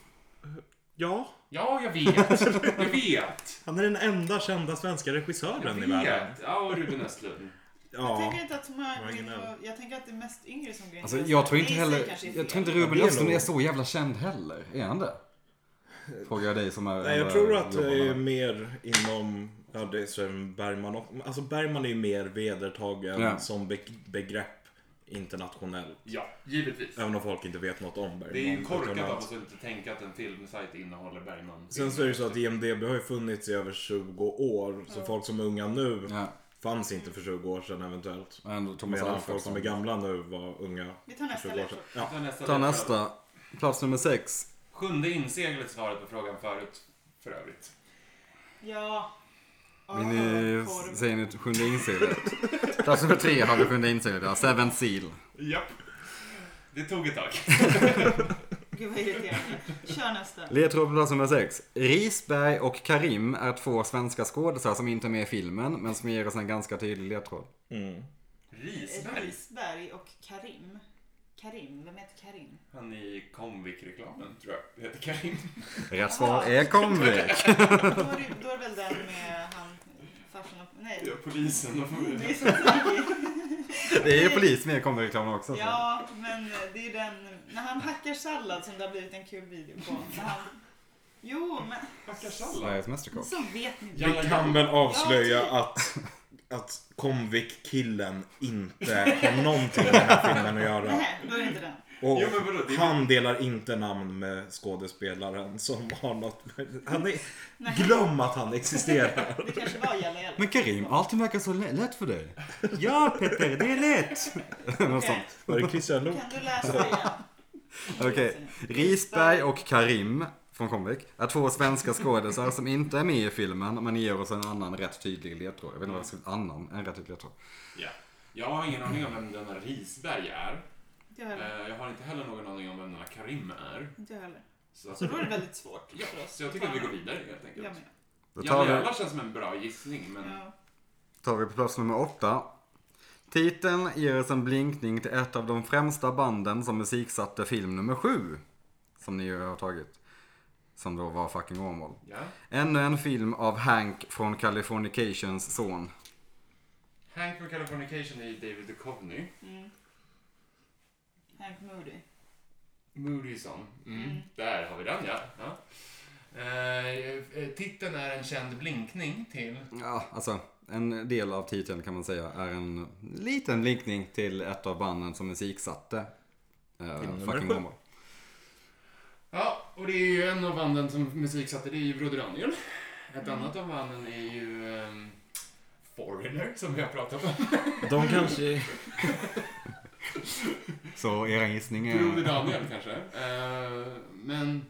ja.
Ja, jag vet. Jag vet.
Han är den enda kända svenska
Jag
regissören i världen.
vet. Ja, och Ruben Östlund.
Jag
Ja.
tänker inte att de här vill
Marginell.
vara- Jag tänker att det är mest yngre som går in.
Alltså, jag tror inte
Det i sig
heller...
kanske är
Jag
fel.
tror inte
Ja,
Ruben
det är
Östlund
nog-
är så jävla känd heller. Är han det? Frågar jag dig som är...
Nej, jag
eller
tror att eh,
jobbar
det är
med-
mer inom... Ja, det är som Bergman och, Alltså Bergman är ju mer vedertagen
Ja.
som be begrepp internationellt.
Ja, givetvis.
Även om folk inte vet något om Bergman.
Det är ju
utan
korkat
att-
av oss att inte tänka att en filmsajt innehåller Bergman.
Sen så är det så att IMDB har ju funnits i över 20 år. Så folk som är unga nu
Ja,
fanns inte för 20 år sedan eventuellt.
och ändå Thomas
Medan folk som är
Alfredsson.
gamla nu var unga
Vi tar
för
nästa
20 år sedan.
ledtråd.
Ja.
Ta nästa.
Ta
ledtråd.
nästa. Plats nummer sex.
Sjunde inseglet svaret på frågan förut, för övrigt.
Ja.
Vill
Ja,
ni,
Ah, korv.
säger ni sjunde inseglet? Plats nummer tre har vi sjunde inseglet. Ja, Seven Seal.
Japp. Det tog ett tag.
Gud vad irriterande. Kör nästa. Eh,
Ledtråd på plats nummer sex. Risberg och Karim är två svenska skådisar som inte är med i filmen, men som ger oss en ganska tydlig ledtråd.
Mm.
Risberg?
Risberg och Karim. Karim, vem heter Karim?
Han i Comviq-reklamen, tror jag. Heter Karim.
Rätt svar är Comvik.
Då är det, då är det väl den med han, farsan och... Nej.
Ja, polisen och
Det är så tidigt.
Det är polis med i Comvik-reklamen också. så.
Ja, men det är ju den... När han hackar sallad som det har blivit en kul video på. När han, jo, men
Hackarsallad.
Sveriges Mästerkock.
så vet ni.
Ja.
Ja.
Vi kan väl avslöja att,
typ.
att Comvik-killen inte har någonting med den här filmen att göra.
Nej, då är det inte den.
Och
Jo, men vadå, det är-
han delar inte namn med skådespelaren som har något med... Han är...
Nej.
Glöm att han existerar.
Det kanske var Jalla Jalla.
Men Karim, allting verkar så lä- lätt för dig. Ja Petter, det är lätt. Något sånt.
Okej,
Var det Christian Lok?
Kan du läsa igen?
Okej. Risberg och Karim från Comvik är två svenska skådisar som inte är med i filmen men ger oss en annan rätt tydlig ledtråd. Jag vet inte vad jag skulle annan, en rätt tydlig ledtråd.
Ja. Jag har ingen aning om vem denna Risberg är.
Inte jag heller.
Eh, Jag har inte heller någon aning om vem denna Karim är.
Inte jag heller.
Så,
Så då är det väldigt svårt
ja,
för oss.
så jag tycker att vi går vidare helt enkelt.
Jag med.
Då tar
Jalla
vi,
Jalla känns som en bra gissning, men...
Ja.
tar vi på plats nummer åtta. Titeln ger oss en blinkning till ett av de främsta banden som musiksatte film nummer sju. Som ni ju har tagit. Som då var fucking Åmål.
Ja.
Ännu en film av Hank från Californications son.
Hank från Californication är ju David Duchovny.
Mm. Hank Moody.
Moodyson. Mm.
Mm.
Där har vi den ja. ja. Eh, eh, titeln är en känd blinkning till...
Ja, alltså en del av titeln kan man säga är en liten blinkning till ett av banden som musiksatte. Uh,
nummer
fucking
sju.
Åmål.
Ja, Och det är ju en av banden som musik satte, det är ju Broder Daniel. Ett
Mm.
annat av banden är ju ehm, Foreigner, som vi har pratat om.
De kanske...
Så er gissning
Broder
är...
Daniel kanske. Eh, men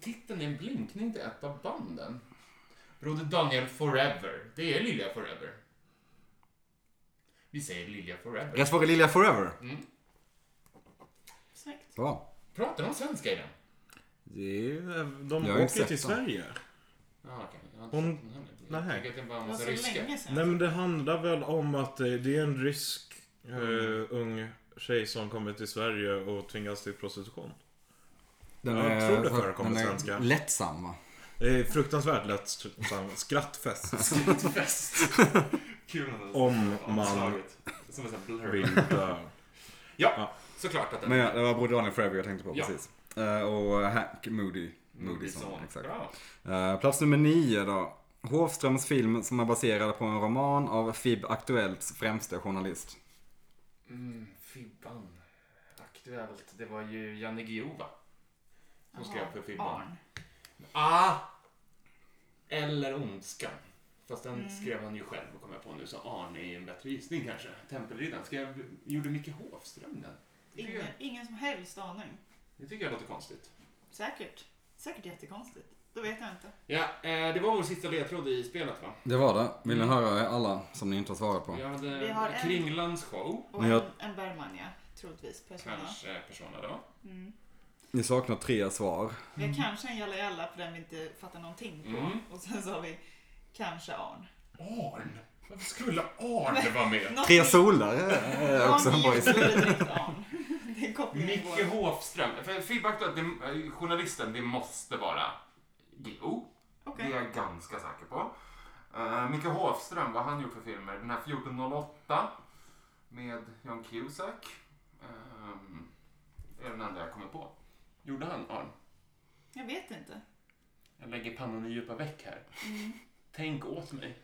titeln är en blinkning till ett av banden. Broder Daniel Forever. Det är Lilja Forever. Vi säger Lilja Forever.
Rätt svar är Lilja Forever.
Mm.
Snyggt.
Bra.
Pratar de svenska i den?
Det är, de
Jag har inte
åker
sett
till
dem.
Sverige.
Ja, okej. Jag har inte
Hon-
sett den heller.
nej.
Jag tycker att det är bara en
Det var
massa
så
ryska.
länge sedan.
Nej men det handlar väl om att eh, det är en rysk eh, ung tjej som kommer till Sverige och tvingas till prostitution.
Den
Jag
är,
tror det förekommer
den är
svenska.
lättsam va?
Det är Eh, fruktansvärt lätt sam- skrattfest
Fest. Kul att-
Om man-
omslaget. Som en sån här blur.
vill dö.
Såklart att den
Men ja, det var Broder Daniel Forever jag tänkte på
Ja.
precis. Eh, och Hank Moody.
Moody
Moody Song,
Song.
exakt.
Bra.
Eh, plats nummer nio då. Hofströms film som är baserad på en roman av FIB Aktuellts främste journalist.
Mm, Fibban. Aktuellt. Det var ju Janne Guillou va? Som skrev för Fibban.
Barn.
Ah! Eller Ondskan. Fast
Mm.
den skrev han ju själv och kom jag på nu, så Arne är ju en bättre gissning kanske. Tempelriddaren. Skrev, gjorde Micke Hofström den? Det tycker
Ingen,
jag-
ingen som helst aning.
Det tycker jag låter konstigt.
Säkert. Säkert jättekonstigt. Då vet jag inte.
Ja, eh, det var vår sista ledtråd i spelet va?
Det var det. Vill ni höra alla som ni inte har svarat på?
Vi hade
Vi har en-
Kringlands show.
Och
Men jag-
en, en Bergman ja, troligtvis. Persona.
Kanske Persona då.
Mm.
Ni saknar tre svar.
Vi har kanske en Jalla Jalla för den vi inte fattar någonting på.
Mm.
Och sen så har vi kanske Arn.
Arn? Varför skulle Arn vara med?
Något
Tre
vi-
solar är också en
Någon
bra
vi gjorde
gissning.
direkt, Arn. Det är kopplingen
Micke
vår.
Hofström. För feedback då, det, eh, journalisten, det måste vara Guillou. Det
Okej.
är jag ganska säker på. Eh, Micke Hofström, vad har han gjort för filmer? Den här 1408 med John Cusack. Ehm, det är den enda jag kommer på. Gjorde han Arn?
Jag vet inte.
Jag lägger pannan i djupa veck här.
Mm.
Tänk åt mig.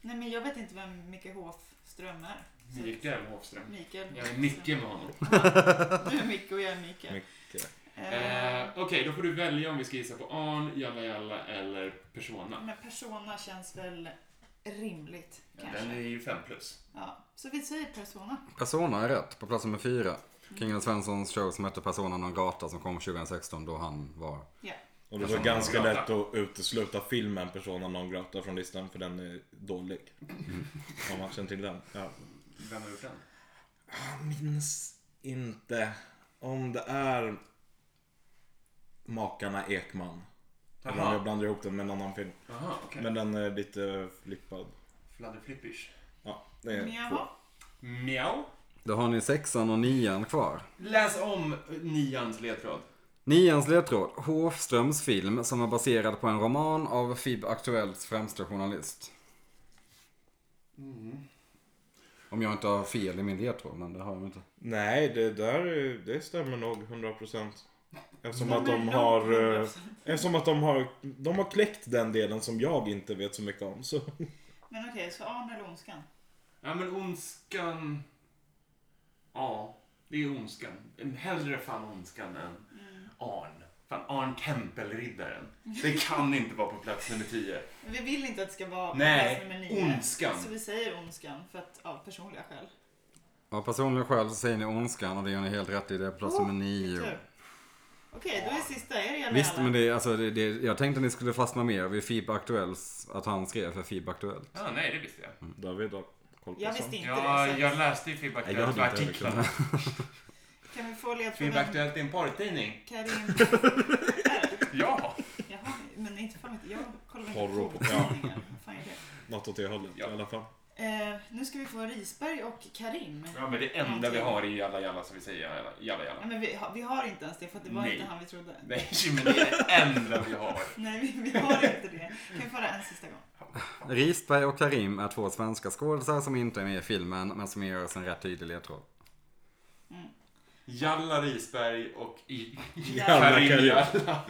Nej men jag vet inte vem Micke Hofström är. Så-
Mikael Hofström.
Mikael.
Jag är Micke med honom.
Ja, Du är Micke och jag är Mikael.
Mycket.
Eh,
Eh, Okej, då får du välja om vi ska gissa på Arn, Jalla Jalla eller Persona.
Men Persona känns väl rimligt
Den är
kanske.
ju 5 plus.
Ja, så vi säger Persona.
Persona är rätt på plats nummer fyra. Kringland Svenssons show som hette Persona non grata som kom 2016 då han var...
Och det
Alltså,
var ganska
Grata.
lätt att utesluta filmen Persona non grata från listan för den är dålig. Om man känner till den. Ja.
Vem har gjort den?
Jag minns inte om det är Makarna Ekman. Eller om
Aha.
jag blandar ihop den med en annan film.
Jaha, okej.
Men den är lite flippad.
Fladderflippish.
Ja, det
Men
är två.
jaha.
Mjau.
Då har ni sexan och nian kvar.
Läs om nians ledtråd.
Nians ledtråd. Hofströms film som är baserad på en roman av FIB Aktuellts främste journalist. Mm. Om jag inte har fel i min ledtråd, men det har jag inte.
Nej, det där är- det stämmer nog 100%. Eftersom
Men
att de
långt
har... eh,
100%.
Eftersom att de har, de har kläckt den delen som jag inte vet så mycket om. Så.
Men okej, så Arn eller Ondskan?
Ja, men ondskan... Ja, det är ondskan. Hellre fan ondskan än
Mm.
Arn. Fan, Arn Tempelriddaren. Det kan inte vara på plats nummer 10.
Men Vi vill inte att det ska vara på
Nej,
plats nummer nio.
Ondskan.
Så vi säger Ondskan för att, av personliga skäl.
Av personliga skäl så säger ni Ondskan och det gör ni helt rätt i. Det är plats nummer nio.
Tur. Okej, då är sista. Är det Jalla
Visst,
Jalla?
men det, alltså, det, det, jag tänkte ni skulle fastna mer vid FIB Aktuells, att han skrev för FIB Aktuellt.
Ja, nej, det visste jag.
David har koll på
Jag
sånt.
visste inte
Ja,
det. Så
jag läste ju Feedback
Nej, jag hade inte heller
artiklarna.
kunnat.
Kan vi få
Feedback
ledtråden
Aktuellt är en porrtidning.
Karin?
Ja!
Jaha, men inte fan vet jag. Jag kollar
Porro
inte
på-
på
ja.
tidningar. Vad fan är det?
Något åt det hållet
Ja.
i alla fall.
Eh, nu ska vi få Risberg och Karim.
Ja, men det enda vi har är Jalla Jalla som vi säger Jalla Jalla.
Ja,
jalla.
men vi, har- vi har inte ens det för att det var
Nej.
inte han vi trodde.
Nej, men det är det enda vi har.
Nej, vi, vi har inte det. Kan vi få det en sista gång?
Risberg och Karim är två svenska skådisar som inte är med i filmen, men som ger en rätt tydlig ledtråd.
Jalla Risberg och i-
Jalla
Karim
Karim.
Jalla.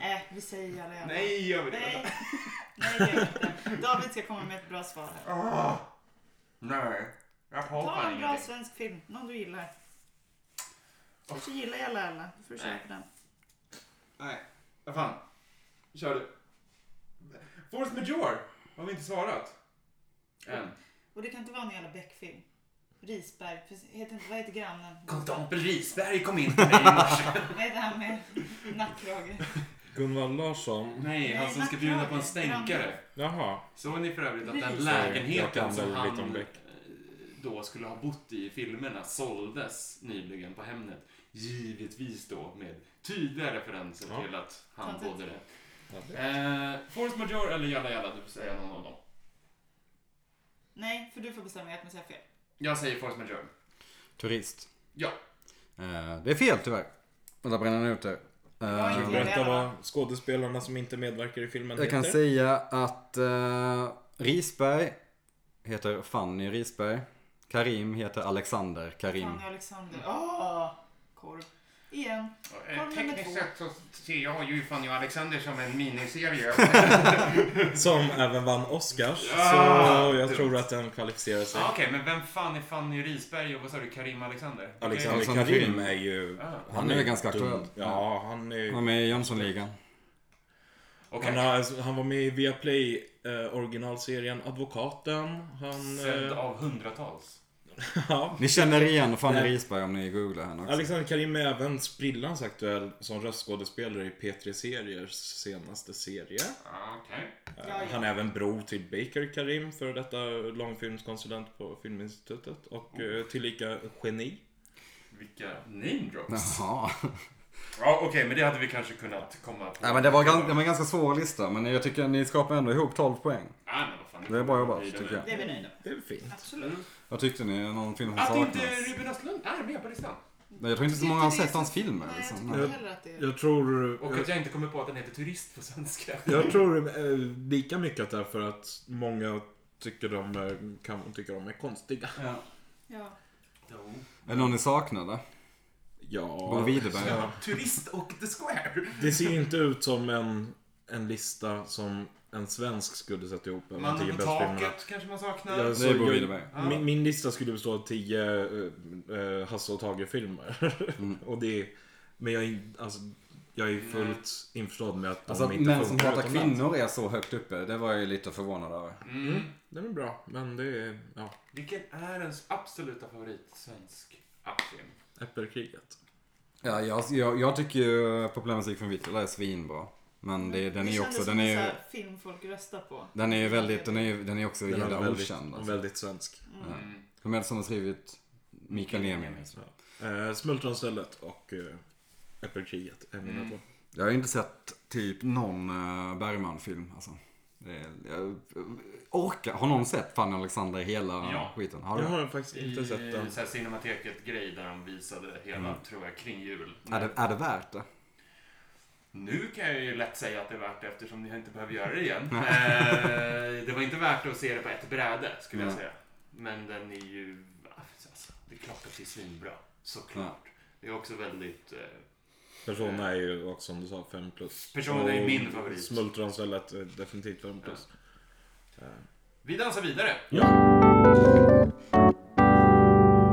Nej, Äh, vi säger Jalla Jalla.
Nej, gör vi
Nej,
det?
Nej, det gör vi inte. David ska komma med ett bra svar här.
Ah, nej, jag har
Ta
fan
en bra
ingenting.
svensk film, någon du gillar. Kanske gillar jag Lalla. Då får du
Nej.
köpa den.
Nej, vad fan. Kör du. Force Major har vi inte svarat. Än.
Och det kan inte vara en jävla Beck-film. Risberg. precis- Heter, inte- vad heter grannen?
Konstapel Risberg kom in till mig i morse.
Vad heter han med nackkrage?
Gunvald Larsson.
Nej, han som ska bjuda på en stänkare.
Jaha.
Såg ni för övrigt att den
Risberg.
Jag kan
lägenheten
väl
som
lite om
han eh,
Beck.
då skulle ha bott i i filmerna såldes nyligen på Hemnet. Givetvis då med tydliga referenser
Ja.
till att han
Fantastiskt.
bodde där. Eh, Force Major eller Jalla Jalla, du får säga någon av dem.
Nej, för du får bestämma. Jag kommer säga fel.
Jag säger Force Major.
Turist.
Ja.
Eh, det är fel tyvärr. Vänta, bränner den ut där.
var
Eh,
inte det.
Berätta vad skådespelarna som inte medverkar i filmen
jag kan
heter.
säga att eh, Risberg heter Fanny Risberg. Karim heter Alexander Karim.
Fanny Alexander. Åh! Korv. Igen.
Eh,
Kom nummer
Tekniskt
två.
sett så ser jag ju Fanny och Alexander som en miniserie.
Som även vann Oscars.
Ja,
så jag
dumt.
tror att den kvalificerar sig.
ah, Okej, men vem fan är Fanny Risberg och vad sa du, Karim Alexander? Okej.
Alexander
Alexander
Karim
Karim.
är ju...
Ah,
Han är
ju
ganska
dum.
aktuell.
Ja, han är
Han är med i Jönssonligan.
Okej.
Han, har, alltså, han var med i Viaplay eh, originalserien Advokaten. Han...
Sedd
Eh,
av hundratals.
ja.
Ni känner igen Fanny
Nej.
Risberg om ni googlar henne också.
Alexander Karim är även sprillans aktuell som röstskådespelare i P3 Seriers senaste serie.
Ah, Okej.
Eh,
Ja, ja.
Han är även bror till Baker Karim, före detta långfilmskonsulent på Filminstitutet och eh, tillika geni.
Vilka name drops.
Jaha.
Ja, okej, men det hade vi kanske kunnat komma på.
Nej, men det var, gan- det var en ganska svår lista, men jag tycker ni skapar ändå ihop 12 poäng.
Nej, men vad fan.
Det är bra jobbat, tycker jag.
Det är vi nöjda
Det är fint.
Absolut.
Vad tyckte ni? Någon film som
Att
saknas?
inte Ruben Östlund är med på listan.
Nej, Jag tror inte så många har sett hans filmer.
Nej, jag
Liksom.
tycker
Nej.
inte heller att det är...
Jag tror...
Och att jag inte kommer på att den heter turist på svenska.
Jag tror eh, lika mycket att det är för att många tycker de, eh, kan, tycker de är konstiga.
Ja.
Ja.
Är det någon ni saknade? Bo
Ja,
Widerberg?
Ja.
Turist och The Square.
det ser ju inte ut som en, en lista som en svensk skulle sätta ihop. över de
Mannen på
bästa filmerna.
taket kanske man saknar.
Ja,
Det är Bo
jag-
Widerberg.
Ja.
Min, min lista skulle bestå av tio eh, eh, Hasse och Tage-filmer.
Mm.
och det, är- men jag, är in- alltså, jag är fullt införstådd med att de
Alltså att
inte
män som
funkar
hatar
utomlands.
kvinnor är så högt uppe, det var jag ju lite förvånad över.
Mm.
Det är bra, men det är ja,
Vilken är ens absoluta favorit svensk appfilm?
äppelkriget.
Ja, jag, jag, jag tycker ju populärmusik från Vittula är svinbra. Men Mm, det, den är ju
Mm. kändes
också,
som
den är
en
ju,
sån här film folk röstar på.
den är ju väldigt, den är ju, den är också
Den är
jävla
väldigt,
okänd. Alltså.
väldigt svensk.
Mm.
Vem är det som har skrivit Mikael Niemi?
Eh, Smultronstället och eh, Äppelkriget är mina
Mm.
två.
Jag har inte sett typ någon eh, Bergman-film alltså. Det är, jag, orkar, har någon sett Fanny Alexander hela
Ja.
skiten? Har du?
Jag har faktiskt inte
I
sett den.
så här Cinemateket-grej där de visade hela, tror jag, kring jul.
Är, Mm. det, är det värt det?
Nu kan jag ju lätt säga att det är värt det eftersom ni inte behöver göra det igen. eh, det var inte värt att se det på ett bräde, skulle jag
Nej.
säga. Men den är ju... Alltså, det är klart att det är svinbra. Såklart. Det är också väldigt... Eh,
Persona är ju också som du sa 5 plus.
Persona är
Och
min favorit.
Smultronstället är eh, definitivt 5 plus. Eh,
vi dansar vidare.
Ja!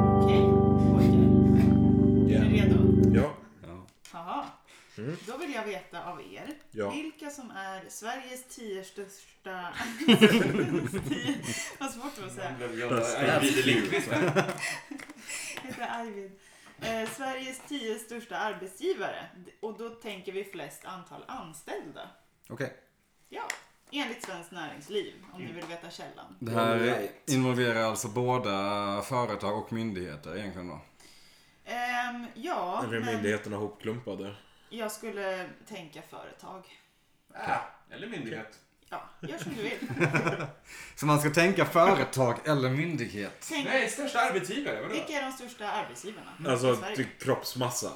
Okej, pojkar. Är ni redo?
Ja.
Ja.
Jaha.
Mm.
Då vill jag veta av er
Ja.
vilka som är Sveriges tio största... tio... Vad svårt det var att säga.
Fast-
Jag blir Äh, Lindqvist.
Heter Arvid. Eh, Sveriges tio största arbetsgivare. Och då tänker vi flest antal anställda.
Okej.
Ja, enligt Svenskt Näringsliv om ni
Mm.
vill veta källan.
Det här involverar alltså båda företag och myndigheter egentligen då?
Ehm, ja,
Eller är
men
myndigheterna hopklumpade?
jag skulle tänka företag.
Ah, eller myndighet.
Ja, gör som du vill.
Så man ska tänka företag eller myndighet?
Tänk,
Nej, största arbetsgivare. Vadå?
vilka är de största arbetsgivarna? i
Alltså,
Mm, Sverige?
typ kroppsmassa.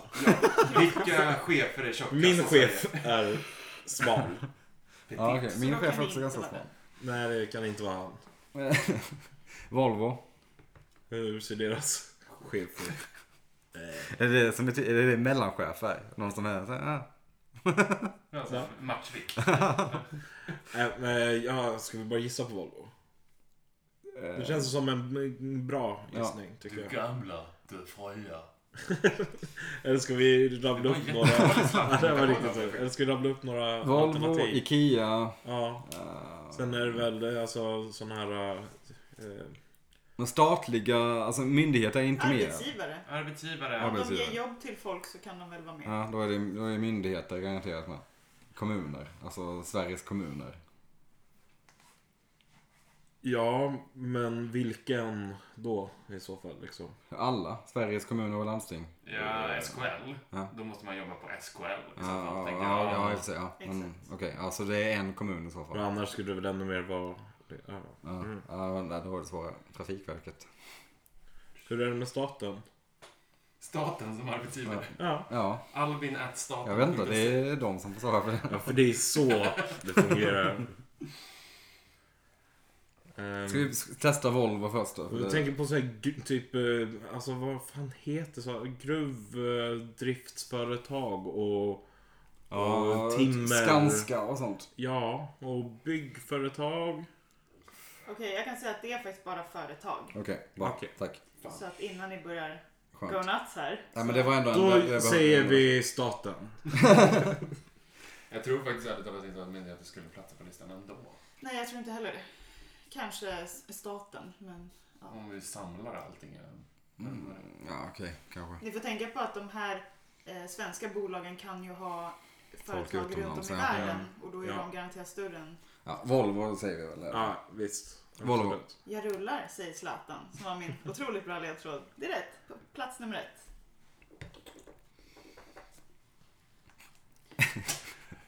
Vilka chefer är tjockast?
Min
i
chef
Sverige?
är smal.
Ja, okej.
Så
Min
då kan
chef är
det
också
inte
ganska
vara
smal.
Nej, det kan inte vara han.
Volvo.
Hur ser deras chef ut?
Är det det som betyder, är det, det mellanchefer? Någon som är så här, ah.
Alltså, Matchvikt.
Äh, men, ja, ska vi bara gissa på Volvo?
Eh.
Det känns som en bra gissning, tycker jag.
gamla, du fria,
Eller ska vi rabbla
Det var
upp
en
några...
jättedålig
Ja, det var
slant.
riktigt dåligt. Eller ska vi rabbla upp några
Volvo,
alternativ?
Ikea.
Ja.
eh,
Sen är det väl eh, alltså sådana här... eh,
De statliga, alltså myndigheter är inte med.
Arbetsgivare.
Arbetsgivare.
Ja,
Om de
Arbetsgivare.
ger jobb till folk så kan de väl vara med.
Ja, då är det då är det myndigheter garanterat med. Kommuner, alltså Sveriges kommuner.
Ja, men vilken då i så fall liksom?
Alla Sveriges kommuner och landsting.
Ja, SKL.
Ja.
Då måste man jobba på SKL. i så fall, Liksom,
Ja, ja,
tänker
ja,
jag.
ja i och för sig. Ja. Men,
Exakt.
Okej, ja, så det är en kommun i så
Och
fall.
annars skulle det väl ännu mer vara... Ja.
Ja,
Mm.
ja men då var det svårare. Trafikverket.
Hur är det med staten?
Staten som arbetsgivare.
Ja.
Ja,
Albin at staten.
jag vet inte. Det är de som får svara för det.
ja, för det är så det fungerar. Ehm,
Ska vi s- testa Volvo först då?
Jag tänker på så här, gr- typ, eh, alltså vad fan heter så? Gruvdriftsföretag och,
Ja,
och timmer.
Skanska och sånt.
Ja, och byggföretag.
Okej, jag kan säga att det är faktiskt bara företag.
Okej, bra.
Okej.
Tack.
Fan.
Så att innan ni börjar go
Skönt.
nuts här.
Nej, men det var ändå en...
Då
jag behöver-
säger vi staten.
Jag tror faktiskt ärligt talat inte att myndigheter skulle platsa på listan ändå.
Nej, jag tror inte heller det. Kanske s- staten, men
Om vi samlar allting. i en.
Mm, ja, okej. Kanske.
ni får tänka på att de här eh, svenska bolagen kan ju ha företag
utomlands,
runt om i
ja.
världen och då är
Ja.
de garanterat större än...
Ja, Volvo säger vi väl? eller?
Ja, visst.
Volvo.
Absolut.
Jag rullar, säger Zlatan, som var min otroligt bra ledtråd. Det är rätt. På Plats nummer ett.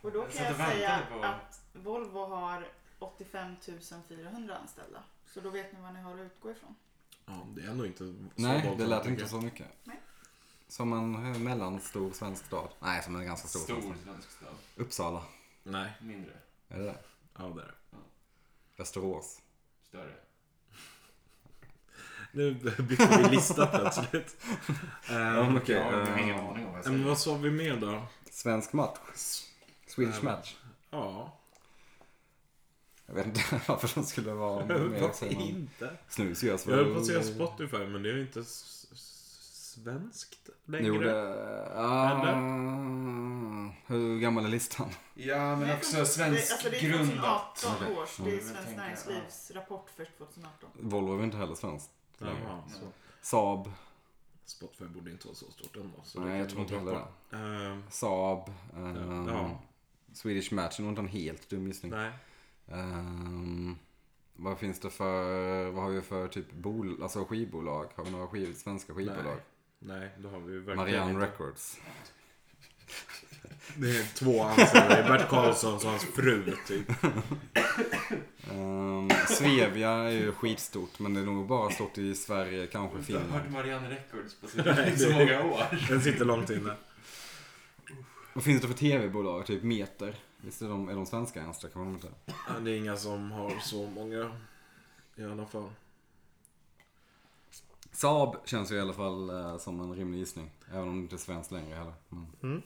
Och då
Jag
kan
satt
jag
och väntade
säga
på-
att Volvo har 85 400 anställda. Så då vet ni vad ni har att utgå ifrån.
Ja, det är ändå inte så
Nej,
våldsamt
det lät inte
mycket.
så mycket.
Nej.
Som en eh, mellanstor svensk stad. Nej, som en ganska stor. svensk
Stor
stad.
svensk stad.
Uppsala.
Nej,
Mindre.
Är det det?
ja det är det.
Västerås. Eh,
Större.
Nu bytte vi lista plötsligt. Um,
okej.
jag har
eh,
ingen aning om vad jag
men
säger.
Ehm, vad sa vi mer då?
Svensk match. Swedish match.
Ja,
Jag vet inte varför de skulle vara med.
varför
säger man.
inte?
Snus görs
Jag höll på att säga Spotify, men det är ju inte s- s- svenskt längre.
Jo, det... Ah, hur gammal är listan?
Ja, men
Det är
också
från-
svensk
det, alltså det är
grundat.
2018 års. Det är
Mm.
Svenskt
Jag tänker,
Näringslivs rapport för 2018.
Volvo är inte heller svenskt.
Jaha, så.
Saab.
Spotify borde inte vara så stort ändå. Så
Nej, jag tror inte heller det.
det.
Saab. ehm,
Ja.
Swedish match är nog inte en helt dum gissning.
nej.
Ehm, vad finns det för, vad har vi för typ bol, alltså skivbolag? Har vi några skiv, svenska skivbolag?
Nej, då har vi ju verkligen
Marianne
inte.
Records.
Det är två anställda. Det är Bert Karlsson och hans fru, typ.
Ehm, Svevia är ju skitstort men det är nog bara stort i Sverige,
Jag
kanske
har inte hört
Finland.
Marianne Records på
Nej,
så- så
det-
många år.
Den sitter långt inne.
Vad finns det för tv-bolag? Typ Meter? Visst är de, är de svenska ens? Det kan man inte.
Ja, Det är inga som har så många. I alla fall.
Saab känns ju i alla fall eh, som en rimlig gissning. Även om det inte är svenskt längre heller. Men
Mm.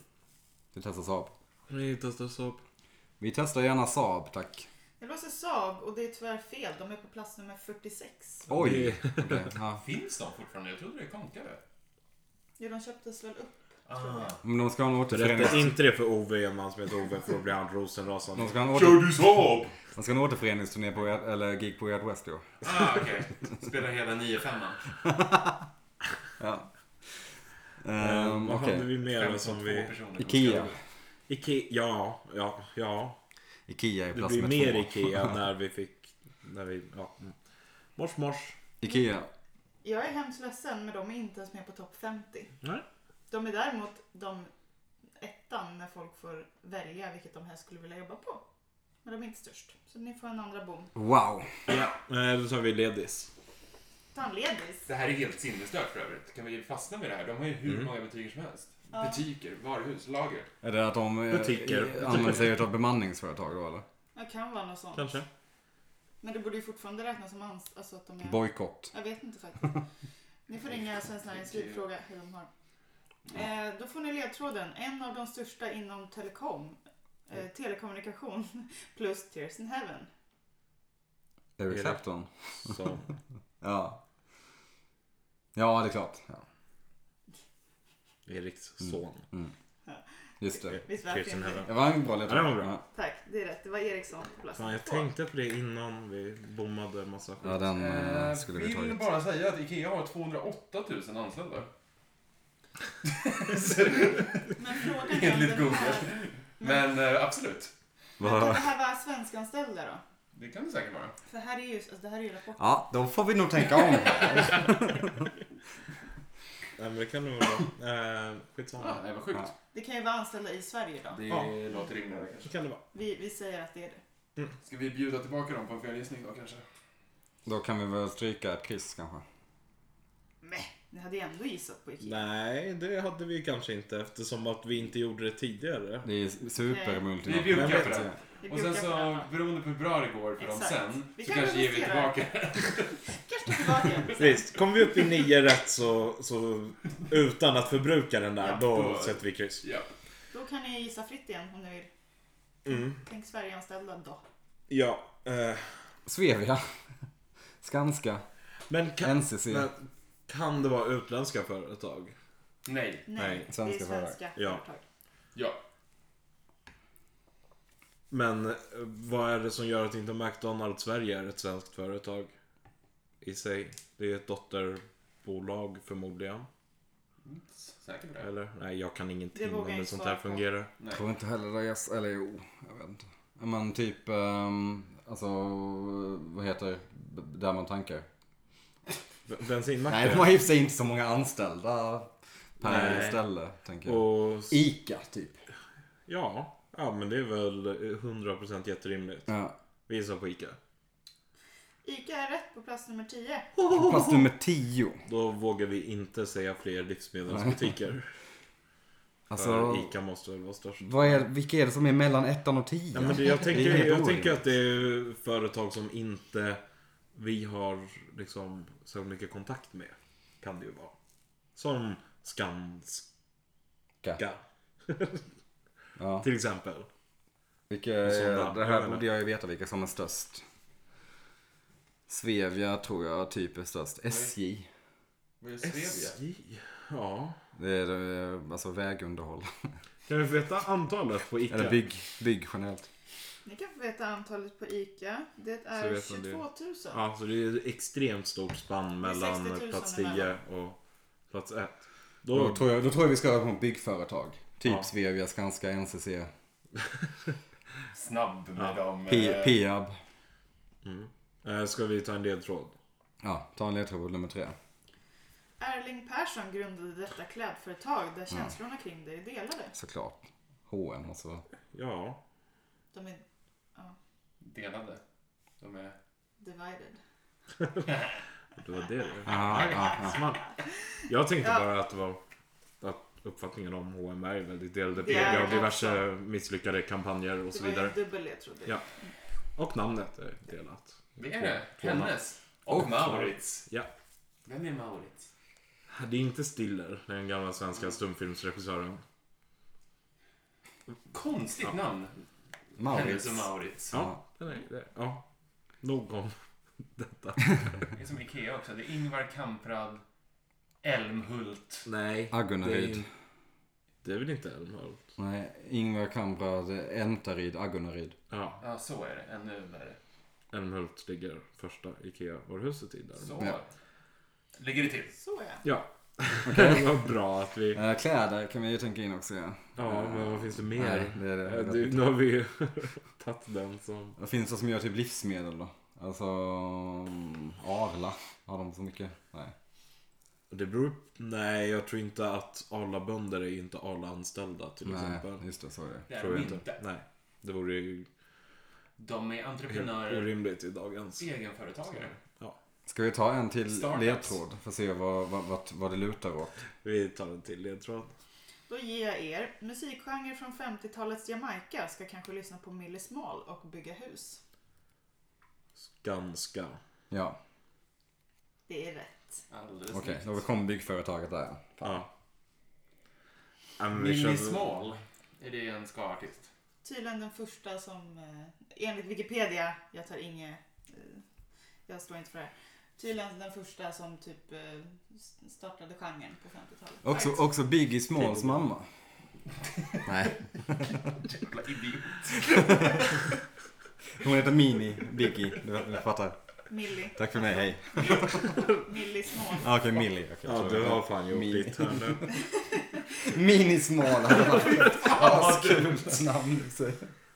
Vi testar Saab.
Vi testar Saab.
Vi testar gärna Saab, tack.
Det låter Saab och det är tyvärr fel. De är på plats nummer 46.
Oj! Okej, ja.
Finns de fortfarande? Jag trodde det konkade.
Jo, de köptes väl upp.
Ah.
Men de ska ha en återförening.
Berätta inte det för Ove Enman som heter Ove för då blir han rosenrasande.
De ska ha en åter...
Kör du Saab?
Han ska ha en återföreningsturné på, Ed- eller gig på Ed West i år.
Ah, okej. Spelar hela 9-5.
Ja.
Ehm,
Ehm,
vad
Okej.
hade vi mer som vi...
personer.
Ikea.
Ikea, ja, ja, ja.
Ikea är
Det
plats
blir
nummer
mer
två.
Ikea när vi fick... När vi, ja. mm. Mors, mors.
Ikea.
Jag är hemskt ledsen, men de är inte ens med på topp 50.
Nej.
De är däremot de ettan när folk får välja vilket de helst skulle vilja jobba på. Men de är inte störst. Så ni får en andra bom.
Wow.
Ja, eh, då tar vi ledis.
Tandledis.
Det här är helt sinnesstört för övrigt. Kan vi fastna med det här? De har ju hur
Mm.
många butiker som helst. Butiker, varuhus, lager.
Är det att de eh,
Butiker.
använder sig av bemanningsföretag då eller?
Det kan vara något sånt.
Kanske.
Men det borde ju fortfarande räknas som anst... Alltså att de är...
Bojkott.
Jag vet inte faktiskt. Ni får ringa Svenskt Näringsliv och fråga hur de har. Eh, då får ni ledtråden. En av de största inom telekom, eh, telekommunikation plus Tears in Heaven.
Eric
Erik.
Clapton.
Så.
Ja. Ja, det är klart. Ja.
Eriks son.
Mm. Just det.
Visst var det
Kirsten
fint?
Heaven.
Det var en bra ledtråd.
Ja, det var bra.
Ja.
Tack, det är rätt. Det var Eriksson på plats
Fan, jag
två.
tänkte på det innan vi bommade en massa skit.
Ja, den eh,
Eh,
skulle vi
vill
tagit.
bara säga att IKEA har 208 000 anställda. Så det är
Men frågan är om
Enligt
det
Google.
här,
Men eh, absolut,
men kan det här vara svenskanställda då?
det kan det säkert vara.
För här är ju, alltså, det här är ju rapporten.
Ja, då får vi nog tänka om.
Nej, Ehm, men det kan nog vara. Eh, skitsamma.
Ah, nej, vad sjukt.
Det kan ju vara anställda i Sverige då.
Det
Ja.
låter rimligare kanske.
Så kan det vara.
Vi, vi säger att det är det.
Ska vi bjuda tillbaka dem på en felgissning då kanske?
Då kan vi väl stryka ett kryss kanske.
Men ni hade ju ändå gissat på Ikea.
Nej, det hade vi kanske inte eftersom att vi inte gjorde det tidigare.
Det är
Vi
supermultinationellt.
bjuckar på
vet
det.
Vi
Och sen
brukar på
så
den.
beroende på hur bra det går för dem
Exakt.
sen
Vi
så
kan
kanske ger vi
justera.
tillbaka.
Kanske tillbaka.
Visst, kommer vi upp i nio rätt så, så utan att förbruka den där,
Ja,
då
då-
sätter vi kryss.
Ja.
Då kan ni gissa fritt igen om ni vill.
Mm.
Tänk Sverigeanställda då.
Ja, eh,
Svevia. Skanska.
men kan,
NCC.
men kan det vara utländska företag?
Nej.
Nej,
Nej, det
svenska
är svenska
Ja.
företag.
Ja.
Men eh, vad är det som gör att inte McDonalds Sverige är ett svenskt företag? I sig. Det är ett dotterbolag förmodligen.
Säker på det?
Eller? Nej, jag kan
Det
ingenting om
vågar jag
hur
inte
sånt
svara
här
på.
fungerar.
Nej.
Jag tror inte heller det. Yes. Eller jo, jag vet inte. Men typ, ehm, alltså, vad heter b- där man tankar?
B-
Nej,
Bensinmackar.
de har i och för sig inte så många anställda per
Nej.
ställe, tänker jag.
Och s-
Ica, typ.
ja, ja, men det är väl eh, 100% jätterimligt.
Ja.
Vi gissar på ICA.
Ica är rätt på plats nummer 10.
Plats nummer 10.
Då vågar vi inte säga fler livsmedelsbutiker.
Alltså,
För ICA måste väl vara störst.
vad är, vilka är det som är mellan 1 och 10?
Ja, men det, jag
Det är
tänker,
helt
jag
orimligt.
tänker att det är företag som inte vi har liksom så mycket kontakt med. Kan det ju vara. Som Skanska.
Ja.
Till exempel.
Vilka,
Sådana.
det
Jag
här
vet
borde jag ju veta vilka som är störst. Svevia tror jag typ är störst. SJ.
Vad är Svevia?
SJ. Ja.
Det är eh, alltså vägunderhåll.
Kan vi få veta antalet på ICA?
Eller bygg, bygg generellt.
Ni kan få veta antalet på Ica. Det
Så
är
vet man det.
22 000.
Ja, så det är ett extremt stort spann
Det är 60 000
mellan plats 10
emellan.
och plats 1.
Då
Då,
tror jag, då tror jag vi ska över på byggföretag. Typ
Ja.
Svevia, Skanska, NCC,
Snabb med
Ja.
dem.
P-
eh,
Peab.
eh, ska vi ta en ledtråd?
Ja, ta en ledtråd på nummer tre.
Erling Persson grundade detta klädföretag där känslorna kring det är delade.
Såklart. H&M och så.
Ja.
De är
Delade. De är...
divided.
Det var det det
Ah, ah, ah.
Smart. Jag tänkte
Ja.
bara att det var att uppfattningen om H&M är väldigt delade på
Det är
grund av
det
diverse misslyckade kampanjer och
Det
så
var ju
vidare.
en dubbel ledtråd.
Ja. Och namnet är delat.
Det är det.
Två namn.
Hennes. Och,
Och
Maurits.
Ja.
Vem är Maurits?
Det är inte Stiller, den gamla
Mm.
svenska stumfilmsregissören.
Konstigt
Ja.
namn. Hennes
Maurits.
och Maurits.
Ja, den är det. Ja. Nog om detta.
Det är som Ikea också. Det är Ingvar Kamprad. Elmhult.
Nej.
Agunnaryd.
Det är väl inte Älmhult?
Nej, Ingvar Kamprad, Entaryd, Agunnaryd.
Ja,
Ja, så är det. Ännu värre.
Älmhult ligger första IKEA-varuhuset i där.
Så.
Ja.
Ligger det till.
Så ja.
Ja. Det var bra att vi...
Eh, Kläder kan vi ju tänka in också ja.
Ja, men vad finns det mer?
Nej, det är det.
Eh, Du, nu har vi ju tagit den som...
Vad finns det som gör typ livsmedel då? Alltså mm, Arla. Har de så mycket? Nej.
Det beror... Nej, jag tror inte att alla bönder är inte alla anställda till exempel.
Nej, just det. Så är det.
Det är
tror
de
jag
inte.
Nej. Det vore ju
De är
helt
entreprenörer.
orimligt i dagens.
Egenföretagare.
Ska vi ta en till
Startups.
ledtråd för att se vad, vad, vad, vad det lutar åt?
Vi tar en till ledtråd.
Då ger jag er musikgenre från 50-talets Jamaica ska kanske lyssna på Millie Small och bygga hus.
Ganska.
Ja,
Det är rätt.
Alldeles
okej.
nytt.
Då kom byggföretaget där.
Ja. Ja, men vi
Minnie
kör-
Small. Är det en ska-artist?
Tydligen den första som, eh, enligt Wikipedia, jag tar inget, eh, jag står inte för det här, Tydligen den första som typ eh, s- startade genren på 50-talet.
Också, också Biggie Smalls mamma. Nej,
Jävla idiot.
hon heter Mini Biggie. Du, du fattar.
Millie.
Tack för mig, hej.
Millie Small.
Ah, Okej, Millie. Okej, jag
Ja,
tror
du
det.
har fan gjort
Min-
ditt här nu.
Mini Small hade varit askult namn. så.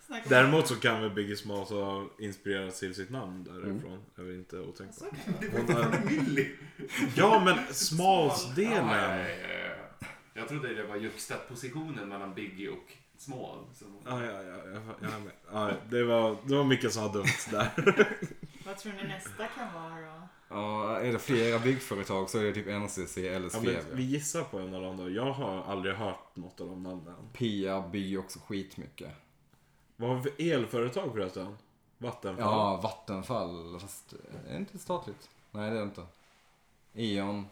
Snacka om-
Däremot så kan väl Biggie Smalls ha inspirerats till sitt namn därifrån. Det är väl inte
Så
otänkbart. eh,
kan det vara.
Det var inte för Millie.
Ja, men Smalls-delen.
Nej, Jag trodde det var juxtapositionen mellan Biggie och Small. som-
Ja, ja, ja, jag, jag, är med. ja, det, var, det var mycket som var dumt där.
Vad tror ni nästa kan vara då?
Ja, är det flera byggföretag så är det typ NCC eller
Ja,
Svevia.
men vi gissar på en av dem då. Jag har aldrig hört något av de namnen.
Pia byr också skitmycket.
Vad har vi för elföretag förresten? Vattenfall?
Ja, Vattenfall. Fast är det inte statligt? Nej, det är det inte. E Eon.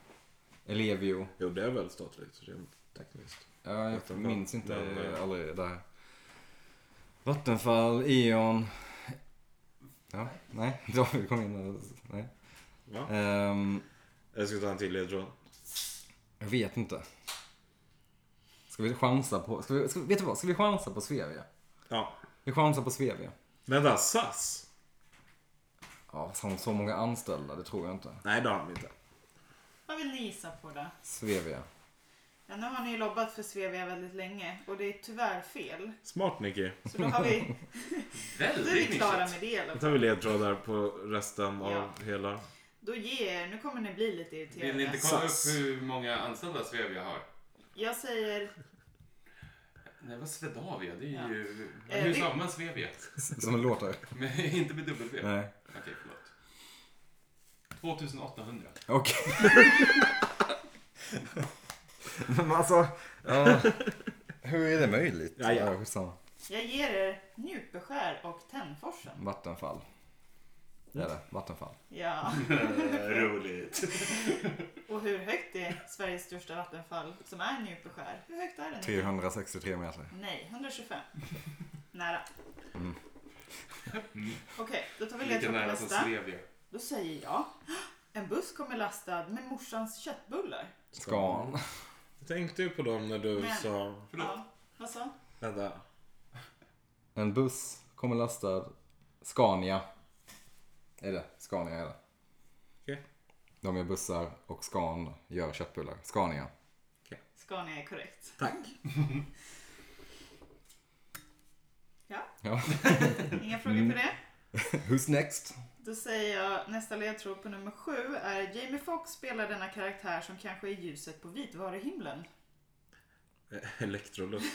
Ellevio.
Jo, det är väl statligt rent tekniskt.
Ja, jag
Vattenfall.
minns inte.
Men,
jag
eh,
är aldrig där. Vattenfall, Eon. Ja, nej. David kom in och... Nej.
Va?
Ehm,
Jag ska ta en till ledtråd.
jag vet inte. Ska vi chansa på... Ska vi, ska, vet du vad? Ska vi chansa på Svevia?
Ja.
Vi chansar på Svevia.
Vänta, SAS?
Ja, fast har så många anställda? Det tror jag inte.
Nej, det har de inte.
Vad vill ni gissa på då?
Svevia.
Ja, nu har ni ju lobbat för Svevia väldigt länge och det är tyvärr fel.
Smart Nicky.
Så då, har vi, då är
Väldigt
vi klara
nischat.
med det i alla
Då
fall.
tar vi ledtrådar på resten
Ja.
av hela.
Då ger jag er, nu kommer ni bli lite
Vill ni inte
irriterade.
kolla
SAS.
upp hur många anställda Svevia har?
Jag säger
Nej, vad Swedavia? Det är
Ja.
ju...
Eh,
Hur
det-
sa man Svevia?
Som det låter.
Men inte med W.
Nej.
Okej, förlåt. 2800.
Okej. Men alltså, ja, hur är det möjligt?
Ja, ja.
skitsamma.
Jag ger er Njupeskär och Tännforsen.
Vattenfall. Det är det. Vattenfall.
Ja,
Roligt.
och hur högt är Sveriges största vattenfall som är Njupeskär? Hur högt är det? nu?
363 meter.
Nej, 125. Nära.
Mm.
Okej, då tar vi
Lika
ledtråd på
nära som
nästa.
Svevia.
Då säger jag. En buss kommer lastad med morsans köttbullar.
Scan.
Jag tänkte ju på dem när du
Men-
sa...
Förlåt.
Ja, vad sa?
Vänta.
En buss kommer lastad. Scania. Är det? Scania är det.
Okej.
De gör bussar och Scan gör köttbullar. Scania.
Scania är korrekt.
Tack.
Ja.
Inga frågor
Mm.
på det?
Who's next?
Då säger jag nästa ledtråd på nummer sju är Jamie Foxx spelar denna karaktär som kanske är ljuset på vitvaruhimlen.
Eh, Electrolux.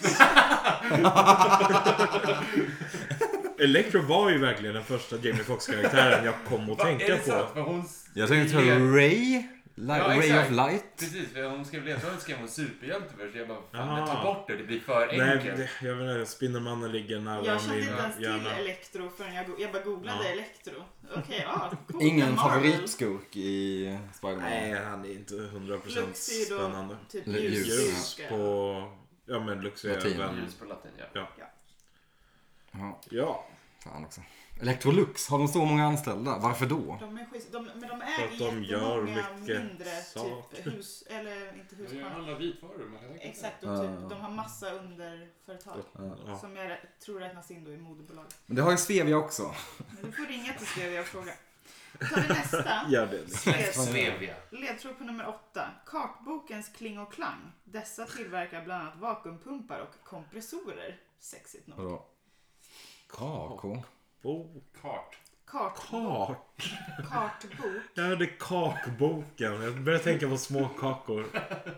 Electro var ju verkligen den första Jamie Fox-karaktären jag kom att
Va, är
tänka
det sant?
på.
Vad hon...
Jag tänkte på
Le-
Ray. Li-
Ja,
Ray
exakt.
of Light.
Precis, för hon skrev ledtråden skrev hon superhjälte först. Jag bara, fan,
Aha.
men ta bort det. Det blir för
Nej,
enkelt.
det, jag vet inte. Spindelmannen ligger nära
Jag kände
min
inte ens till
hjärna.
elektro förrän jag, go- jag bara googlade
Ja.
elektro. Okej, ja. Cool.
Ingen
Marvel.
favoritskurk i Spider-Man.
Nej, han är inte 100%
Lux är ju då
spännande.
Typ
Ljus.
Ljus
ljus.
på... Ja, men Lux är
Latin.
även...
Ljus på latin, ja.
Ja,
Ja,
fan också. Electrolux, har de så många anställda? Varför då?
De är schysst, de, men de
För
äger
att de gör
jättemånga
mycket
mindre
saker.
typ hus, eller inte
Jag gör
husbarn.
alla vitvaror man kan tänka sig.
Exakt, och typ,
Ja.
de har massa underföretag.
ja.
Som jag rä- tror räknas in då i moderbolag.
Men det har ju Svevia också.
Men du får ringa till Svevia och fråga. Då tar vi nästa.
Gör det.
Led-
Svevia.
Ledtråd på nummer åtta. Kartbokens Kling och Klang. Dessa tillverkar bland annat vakuumpumpar och kompressorer. Sexigt nog.
Vadå? Kako?
Bok.
Kart.
Kartbok.
Kak.
Kartbok.
Jag hörde kakboken. Jag började tänka på små kakor.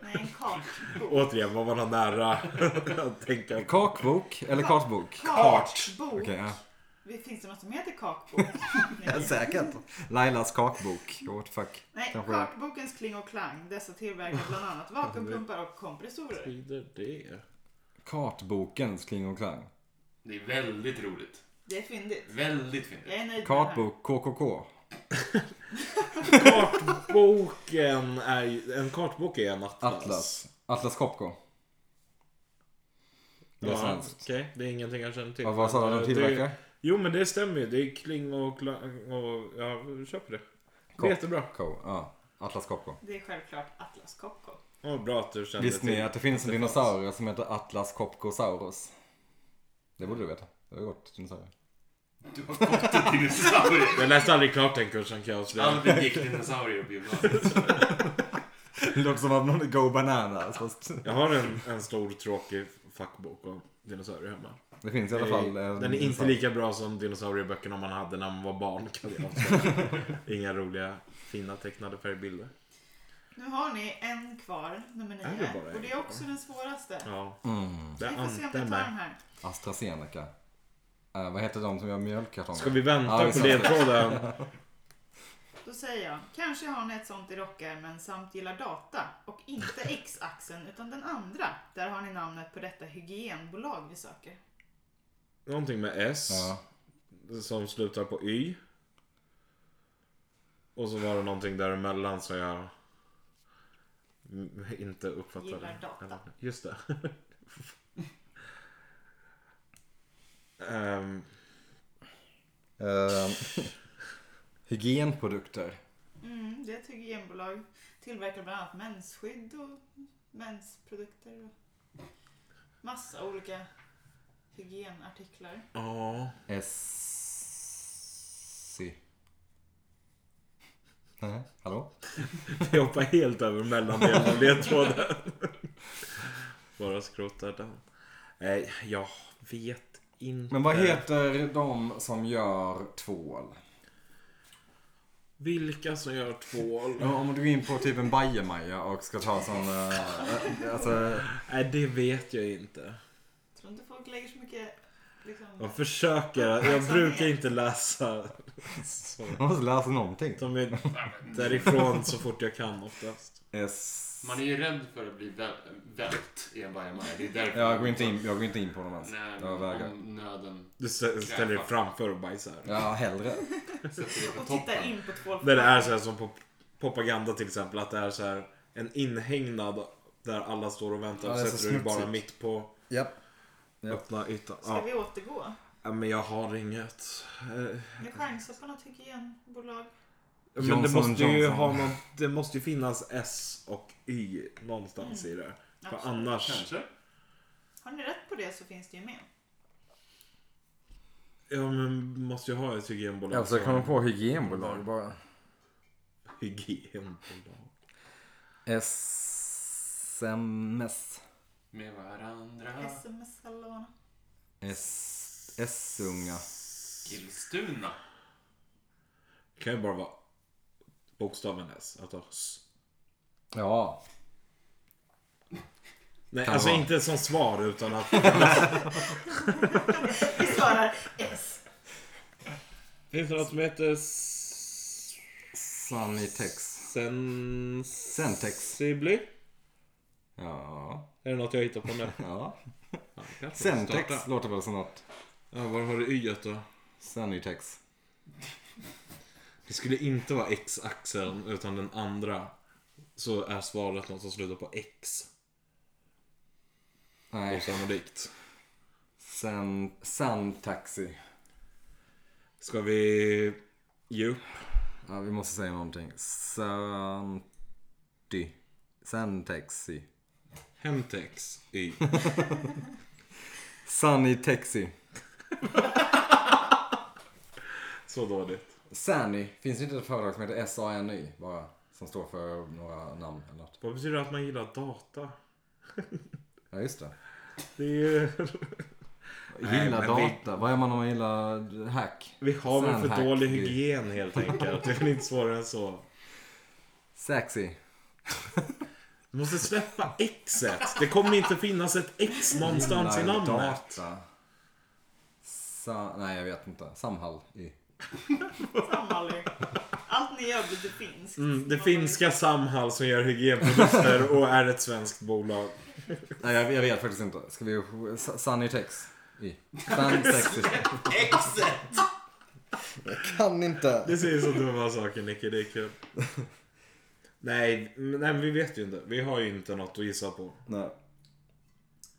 Nej, en kartbok.
Återigen var man har nära att tänka.
Kakbok eller kartbok?
Kartbok.
Okej, ja.
Det Finns det något som heter kakbok?
ja. Säkert. Lailas kakbok. What the fuck.
Nej,
Kanske.
kartbokens Kling och Klang. Dessa tillverkar bland annat vakuumpumpar och kompressorer.
Betyder det?
Kartbokens kling och klang.
Det är väldigt roligt.
Det är fyndigt.
Väldigt
Jag
fint.
är nöjd med det här.
Kartbok KKK.
Kartboken är ju... En kartbok är en atlas.
Atlas. Atlas Copco. Det är
Ja,
svenskt.
Okej, det är ingenting jag känner till. Eh,
Vad- Vad sa du
Det-
de tillverkar?
Jo, men det stämmer ju. Det är kling och klang och... Ja, köp det. Det är jättebra.
Co. Ja. Atlas Copco.
Det är självklart Atlas Copco.
Ja, bra att du kände
Visste ni
till
att det finns en
fanns.
dinosaurie som heter Atlas Copcosaurus? Det borde du veta. Det har gått dinosaurier.
Du har fått en dinosaurie.
Jag läste aldrig klart den kursen kan jag avslöja.
Aldrig gick dinosaurier på gymnasiet.
Det låter som att någon Go Bananas fast...
Jag har en, en stor tråkig fackbok om dinosaurier hemma.
Det finns i alla fall en
Den är inte
dinosaurie.
lika bra som dinosaurieböckerna man hade när man var barn. Kan jag avslöja. Inga roliga fina tecknade färgbilder.
Nu har ni en kvar, nummer nio.
Är det bara en
och det är också den svåraste.
Ja,
Mm.
det
Vi får se om ni tar
är
den
med.
här.
AstraZeneca. Eh, vad heter de som gör mjölkkartonger?
Ska vi vänta
Ja, vi
på
ska-
ledtråden?
Då säger jag, kanske har ni ett sånt i rockärmen samt gillar data och inte X-axeln utan den andra. Där har ni namnet på detta hygienbolag vi söker.
Någonting med S
Ja.
som slutar på Y. Och så var det någonting däremellan som jag mm, inte uppfattade.
Gillar data.
Eller, Just det. Ehm,
Eh, hygienprodukter.
Mm, det är ett hygienbolag. Tillverkar bland annat mensskydd och mensprodukter och massa olika hygienartiklar.
Ja.
Essi. Nej, hallå?
Vi hoppar helt över mellandelen av ledtråden. Bara skrotar den. Nej, jag vet inte.
Men vad heter de som gör tvål?
Vilka som gör tvål?
Ja, Om du går in på typ en bajamaja och ska ta sån... eh, alltså,
Nej, det vet jag inte.
Jag tror inte folk lägger så mycket liksom,
Jag försöker. Jag brukar inte läsa. Så.
man måste läsa någonting.
De är därifrån så fort jag kan oftast.
Ess...
Man är ju rädd för att bli väl- vält i en bajamaja. Det är därför.
Jag går, inte in, jag går inte in på dem ens.
Nej, men
Jag vägrar.
om nöden
Du stä- ställer dig framför och bajsar.
Ja, hellre.
sätter dig på
och tittar
toppen.
in på två
Där det är så här som på propaganda till exempel. Att det är så här en inhägnad där alla står och väntar.
Ja,
och
det är så
sätter du dig bara
smutsigt.
mitt på
Japp. Japp.
öppna ytan.
Ska vi återgå?
Ja, men jag har inget. Eh,
Ni chansar på något hygienbolag.
Men det
Johnson
måste ju
Johnson.
ha något, det måste ju finnas S och Y någonstans i det. För
Absolut.
annars,
Kanske.
Har ni rätt på det så finns det ju med.
ja men måste ju ha ett hygienbolag.
Jag försöker komma
som-
på hygienbolag bara.
Hygienbolag.
SMS.
Med varandra.
SMS Salona.
S... S-unga.
Killstuna.
Det kan ju bara vara bokstaven S. Alltså S.
Ja.
Nej,
Kan
alltså
vara.
inte som svar utan att...
Vi svarar S.
Finns det något som heter... s-
Sanitex.
Sen...
Sentex.
Sibli?
Ja.
Är det något jag hittar på nu?
ja.
Ja, kanske.
Sentex
Starta.
låter väl som något.
Ja, var har du Y då?
Sanitex.
Det skulle inte vara X-axeln utan den andra. Så är svaret något som slutar på X.
Nej.
Osannolikt.
Sen... Santaxi.
Ska vi ge upp?
Ja, vi måste säga någonting. Santi. Santaxi.
Hemtex Y.
Sanitexi.
Så dåligt.
Sani. Finns det inte ett företag som heter S-A-N-Y bara? Som står för några namn eller något.
Vad betyder det att man gillar data?
Ja, just det.
Det är ju... Nej,
Gilla
men vi-
data. Vad gör man om man gillar hack?
Vi har väl för
Sandhack.
dålig hygien helt enkelt. Det är väl inte svårare än så.
Sexy.
Du måste släppa Xet. Det kommer inte finnas ett X någonstans i
Gillar
namnet.
Data. Sa... Nej, jag vet inte. Samhall. I.
Samhall. Allt ni gör blir det finskt.
Mm, det finska Samhall som gör hygienprodukter och är ett svenskt bolag.
Nej, jag, jag vet faktiskt inte. Ska vi... Sa- Sanitex. I. Sansexy.
Exet!
Jag kan inte.
Det säger så dumma saker Nicky, det är kul. Nej, men- nej men vi vet ju inte. Vi har ju inte något att gissa på.
Nej.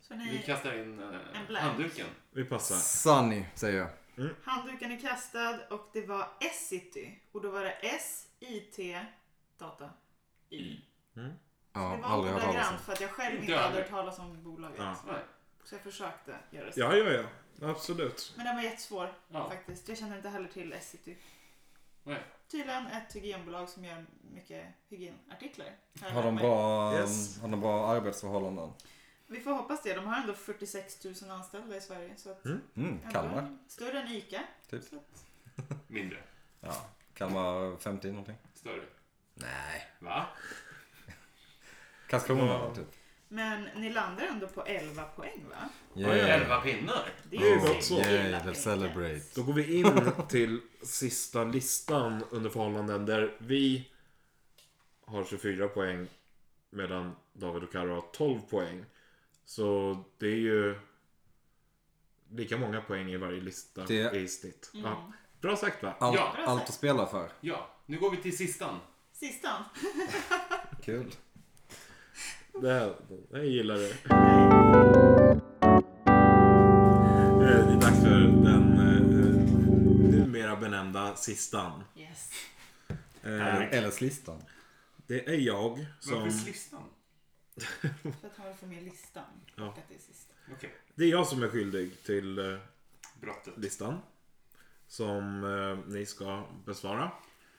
Så
Vi
ni,
kastar in eh,
En blank.
handduken.
Vi passar.
Sunny, säger jag.
Mm.
Handduken är kastad och det var S-city. Och då var det S-I-T data. I.
Mm. Ja,
det var
aldrig hört talas om.
ordagrant för att jag själv inte
Inte
hade
aldrig.
hört talas om bolaget.
Ja.
Nej.
Så jag försökte göra det.
Ja, ja, ja. Absolut.
Men den var jättesvår
Ja.
faktiskt. Jag känner inte heller till S-city.
Nej.
Tydligen ett hygienbolag som gör mycket hygienartiklar. Här
Har de,
hemma.
bra,
Yes.
har de bra arbetsförhållanden?
Vi får hoppas det. De har ändå 46 000 anställda i Sverige. Så att
Mm.
Mm,
ändå
Kalmar.
Större än ICA.
Typ.
Så att,
Mindre.
Ja, Kalmar 50 någonting.
Större.
Nej.
Va?
Karlskrona
Ja.
typ.
men ni landar ändå på 11 poäng va?
Yeah.
Elva pinnar.
Det
Det är ju
så
gott så.
himla
Yay,
fint.
let's celebrate.
Då går vi in till sista listan under förhållanden där vi har 24 poäng medan David och Karo har 12 poäng. Så det är ju lika många poäng i varje lista
Det-
i snitt. Ja. Bra sagt va?
Allt,
Ja.
allt att spela för.
Ja, nu går vi till sistan.
Sistan.
Kul.
Det här, jag gillar det. Eh, Det är dags för den eh, numera benämnda sistan.
Yes.
Eh,
Tack.
LS-listan.
Det är jag som...
Varför slistan?
För att han vill få med listan.
Ja.
Och att det är sistan.
Okej,
Det är jag som är skyldig till eh,
brottet.
listan. Som eh, ni ska besvara.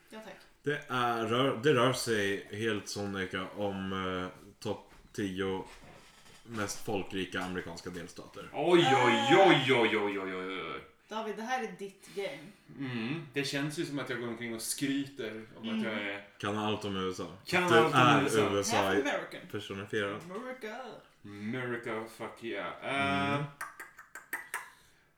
Ja tack.
Det, är, rör, det rör sig helt sonika om eh, topp 10 mest folkrika amerikanska delstater.
Oj, oj, oj, oj, oj, oj, oj, oj.
David, det här är ditt game.
Mm. Det känns ju som att jag går omkring och skryter om att jag är...
Kan allt om USA.
Kan
du
allt om
är
USA.
USA
Half
i-
American.
personifierad.
America.
America, fuck yeah. Eh,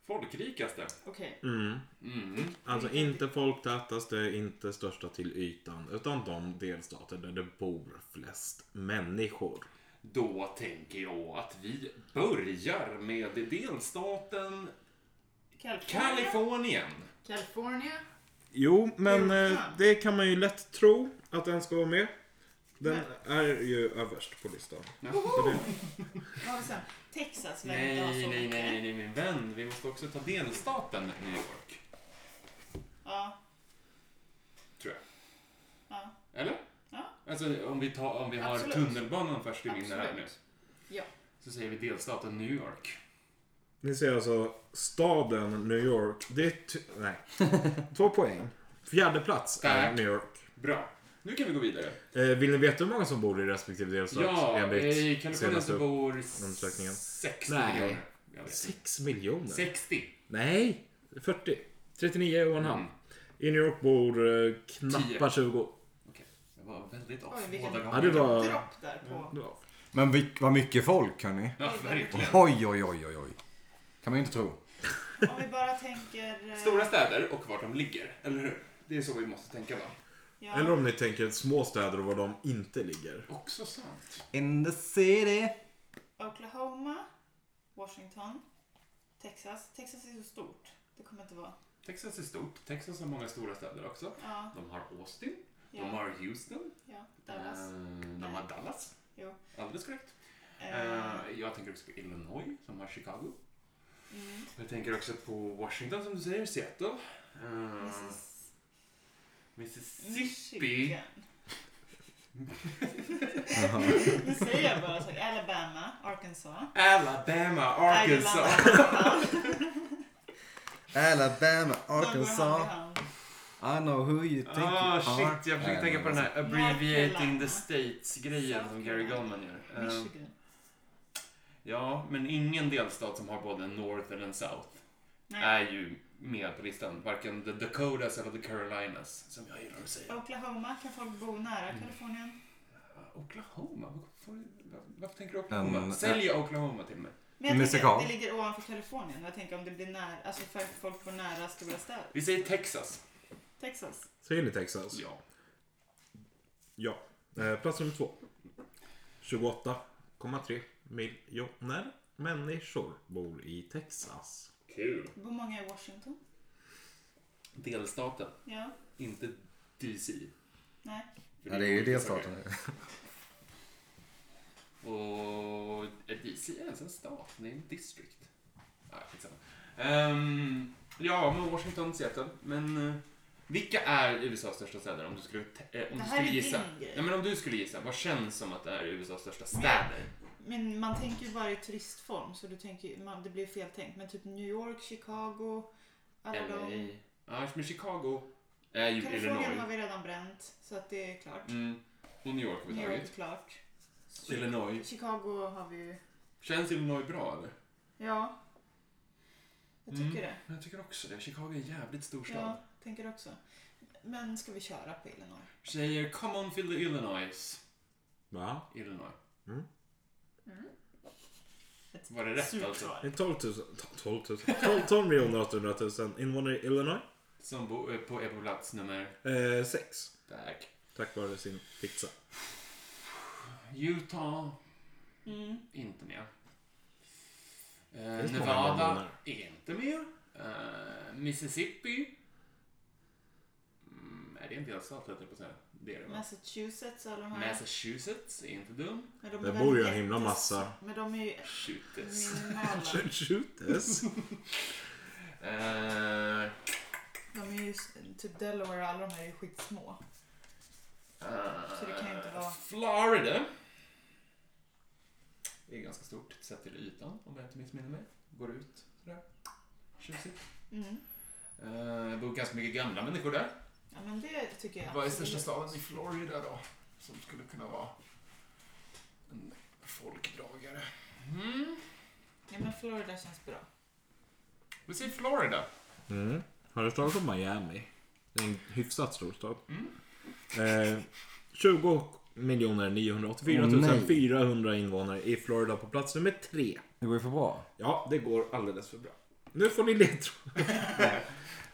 Folkrikaste.
Okej.
Mm.
Mm.
Alltså inte folktätaste, inte största till ytan. Utan de delstater där det bor flest människor.
Då tänker jag att vi börjar med delstaten
California.
Kalifornien.
California.
Jo, men
Mm.
eh, det kan man ju lätt tro att den ska vara med. Den är ju överst på listan.
Vad har vi sen? Texas verkar
Nej,
inte ha
nej,
så
nej,
mycket.
nej, nej, min vän. Vi måste också ta delstaten New York.
Ja.
Tror jag.
ja.
Eller?
Ja.
Alltså om vi, tar, om vi har
Absolut.
tunnelbanan först i minne här nu.
Absolut. Ja.
Så säger vi delstaten New York.
Ni ser alltså staden New York. Det är ty- Nej. Två poäng. Fjärde plats är
Tack.
New York.
Bra. Nu kan vi gå vidare.
Eh, vill ni veta hur många som bor i respektive delstat?
ja, eh,
enligt
i Kalifornien
senaste
så bor
undersökningen.
60
Nej.
miljoner. Jag vet inte.
Sex miljoner?
60.
Nej, 40. 39 och en halv.
Mm.
I New York bor eh, knappa
Tio.
20.
Okej. Det var väldigt
Oj,
off
vilken-
båda
Ja, det
gångerna.
var... Mm.
Dropp där på.
det var-
Men vilk, vad mycket folk hörni.
Ja, verkligen.
Oj, oj, oj, oj, oj. Kan man ju inte tro.
Om vi bara tänker... eh,
Stora städer och vart de ligger, eller hur? Det är så vi måste tänka va?
Ja.
Eller om ni tänker små städer och var de inte ligger.
Också sant.
In the city.
Oklahoma, Washington, Texas. Texas är så stort. Det kommer inte vara...
Texas är stort. Texas har många stora städer också.
Ja,
De har Austin.
ja,
De har Houston.
ja. Dallas.
Eh, De har Dallas.
Jo.
Alldeles korrekt.
Eh,
Eh, Jag tänker också på Illinois som har Chicago.
mm.
Jag tänker också på Washington som du säger, Seattle. Eh,
Missis-
Mississippi.
Michigan. Nu säger jag bara saker. Alabama, Arkansas.
Alabama, Arkansas.
Ireland, Arkansas.
Alabama,
De går hand i
Arkansas.
hand.
I know who you think
Ah,
you are.
shit. Jag försöker
Äh,
tänka på den här Abbreviating
Carolina.
the States-grejen som Gary Goldman gör. Eh,
Michigan.
Ja, men ingen delstat som har både North and South
Nej.
är ju med på listan. Varken the Dakotas eller the Carolinas, som jag gillar att
Oh,
säga.
Oklahoma kan folk bo nära Kalifornien.
Oklahoma? Varför, varför tänker du Oklahoma?
En-
Sälj Oklahoma till mig.
Men jag tänker,
Musikal.
det ligger ovanför Kalifornien. Jag tänker om det blir nära, alltså för folk bor nära stora städer.
Vi säger Texas.
Texas.
Säger ni Texas?
Ja.
Ja. Eh, plats nummer två. 28,3 miljoner människor bor i Texas.
Kul.
Det bor många i Washington.
Delstaten,
Ja.
inte DC.
Nej.
För
Ja, det är ju
olika
delstaten.
saker. Och DC är ens en stat, det är en district. Nej, skitsamma. Ehm, Ja, men Washington, Seattle. Men eh, vilka är USAs största städer? Om du skulle, te- eh, om
Det
du
här
skulle
är
gissa.
din grej.
Nej, men om du skulle gissa, vad känns som att det är USAs största städer?
Men man tänker ju bara i turistform så du tänker, ju- man, det blir fel tänkt. Men typ New York, Chicago, alla de.
LA. Ja, men Chicago är ju
Kalifornien
Illinois.
har vi redan bränt så att det är klart.
Mm. Och New York har vi
New York är
tagit.
klart.
Illinois.
Chicago har vi ju.
Känns Illinois bra eller?
Ja. Jag
Mm.
tycker det.
Men jag tycker också det. Chicago är en jävligt stor stad.
Jag tänker också. Men ska vi köra på Illinois?
Tjejer, come on fill the Illinois.
Va?
Illinois.
Ett
Var det rätt
surt
alltså?
svar.
Det är 12 000. 12 000. 12, 12 miljoner 800 000 invånare i Illinois.
Som bo, eh, på, är på plats nummer...
Eh, sex.
Tack.
Tack vare sin pizza.
Utah,
Mm.
inte med.
Det
Eh,
finns många
Nevada,
banor.
är inte med. Eh, Mississippi. Mm, är det inte ens stat, höll jag på att säga. Det är det va?
Massachusetts alla de här.
Massachusetts är inte dum.
Men de
Där
är
bor ju
väl
en himla
jättes-
massa.
Men de är ju
Shooters.
minimala.
Shooters.
Mm.
Eh,
De är ju s- typ Delaware och alla de här är ju skitsmå. Så det kan ju inte vara-
Florida. Det är ganska stort sett till ytan om jag inte missminner mig. Går ut sådär. Tjusigt.
Mm.
Eh, Det bor ganska mycket gamla människor där.
Ja men det tycker jag
Vad är
absolut.
största staden i Florida då? Som skulle kunna vara en folkdragare. Mm.
Ja men Florida känns bra.
Vi säger Florida.
Mm. Har du talat om Miami? Det är en hyfsat stor stad.
Mm.
Eh, 20 miljoner 984
Åh, nej.
400 invånare i Florida på plats nummer tre.
Det går ju för bra.
Ja, det går alldeles för bra. Nu får ni ledtråd.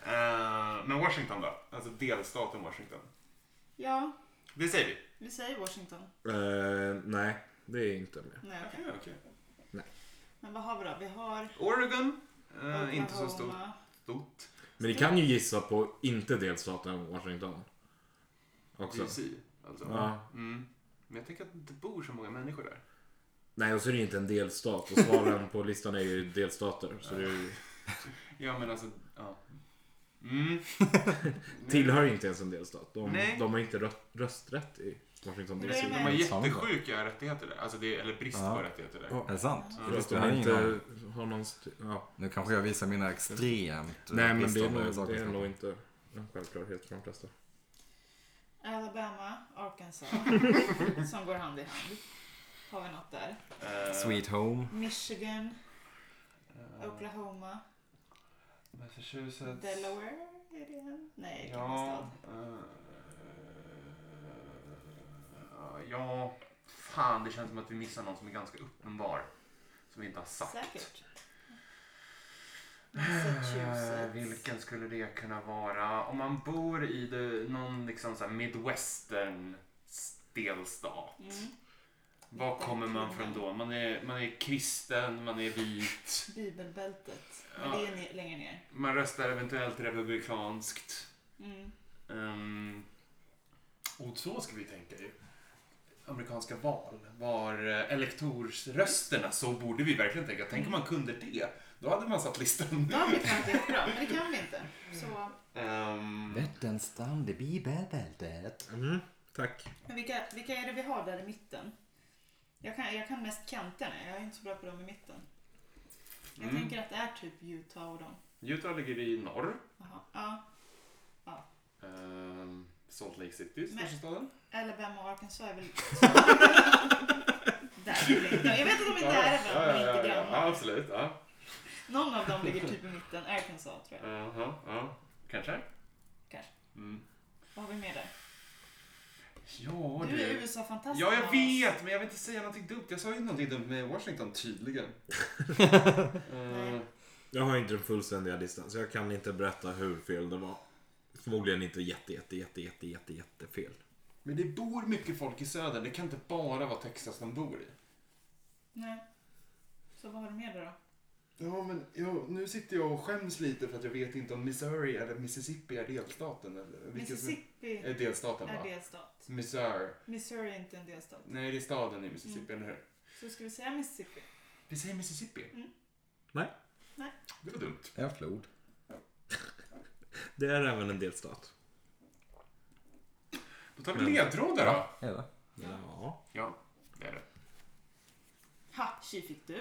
Eh, men Washington då? Alltså delstaten Washington.
Ja,
Det säger vi.
vi säger Washington.
Eh, nej, det är inte med.
Nej,
Mm.
okej.
Nej.
Men vad har vi då? Vi har
Oregon. Eh, inte så stort.
Oklahoma.
stort.
Men ni kan ju gissa på inte delstaten Washington. Också.
DC. Alltså.
Ja.
Mm. Men jag tänker att det inte bor så många människor där.
Nej, och så är det ju inte en delstat. Och svaren på listan är ju delstater. Så det är ju,
Ja, men alltså... Ja. Mm.
tillhör inte ens en delstat. De,
Nej.
de har inte rö- rösträtt i Washington
Det är
DC.
De har jättesjuka rättigheter där. Alltså det, eller brist
Ja.
på rättigheter där.
Ja,
Är det sant?
Ja.
Jag
För att
visste-
de
jag hade ingen aning.
inte har någon... St- ja.
Nu kanske jag visar mina extremt eh,
Nej, men det är,
bristande
nog, det är
sakkunskaper.
nog inte en självklarhet för de flesta.
Alabama, Arkansas. som går hand i hand. Har vi något där?
Eh,
Sweet home.
Michigan,
eh,
Oklahoma,
Massachusetts.
Delaware. Är det en? Nej, det är en
Ja.
stad.
eh, ja. Fan, det känns som att vi missar någon som är ganska uppenbar. Som vi inte har sagt.
Säkert.
Eh,
Massachusetts.
vilken skulle det kunna vara? Om man bor i det, någon liksom så här midwestern delstat.
Mm.
Var kommer man från då? Man är, man är kristen, man är vit.
Bibelbältet.
Ja.
Men det är ne- längre ner.
Man röstar eventuellt republikanskt.
Mm.
Ehm, och så ska vi tänka ju. Amerikanska val var eh, elektorsrösterna så borde vi verkligen tänka. Tänk om man kunde det. Då hade man satt listan.
Då hade vi klarat det bra, men det kan vi inte.
Mm.
Så,
Ehm,
Vättern strand i bibelbältet.
Mm, tack.
men vilka, vilka är det vi har där i mitten? Jag kan, jag kan mest kanterna, jag är inte så bra på dem i mitten. Jag
Mm.
tänker att det är typ Utah och dem.
Utah ligger i norr.
Jaha. Ja,
Ehm, Salt Lake City,
Men-
största staden.
Alabama och Arkansas är väl... där ligger de. Jag vet att de inte är där, men
ja,
inte
ja,
grannar.
absolut. Ja.
Någon av dem ligger typ i mitten, Arkansas tror jag.
Aha, ja. Kanske.
Kanske.
Mm.
Vad har vi mer där?
Ja,
Du
du.
är USA-fantast.
Ja, jag
Hans.
vet, men jag vill inte säga någonting dumt. Jag sa ju någonting dumt med Washington, tydligen. Ehm,
Jag har inte den fullständiga listan, så jag kan inte berätta hur fel det var. Förmodligen inte jätte, jätte, jätte, jätte, jätte, jättefel.
Men det bor mycket folk i söder. Det kan inte bara vara Texas de bor i.
Nej. Så vad har du mer där då?
Ja, men jag, nu sitter jag och skäms lite för att jag vet inte om Missouri eller Mississippi är delstaten. Eller, vilken som-
Mississippi
Är delstaten,
är
va?
delstat.
Missouri.
Missouri är inte en delstat.
Nej, det är staden i Mississippi,
Mm.
eller hur?
Så ska vi säga Mississippi?
Vi säger Mississippi.
Mm.
Nej.
Nej.
Det var dumt.
En flod.
Det är även en delstat.
Då tar vi ledtrådar då.
Är det?
Ja.
Ja, det är det.
Ha, tji fick du.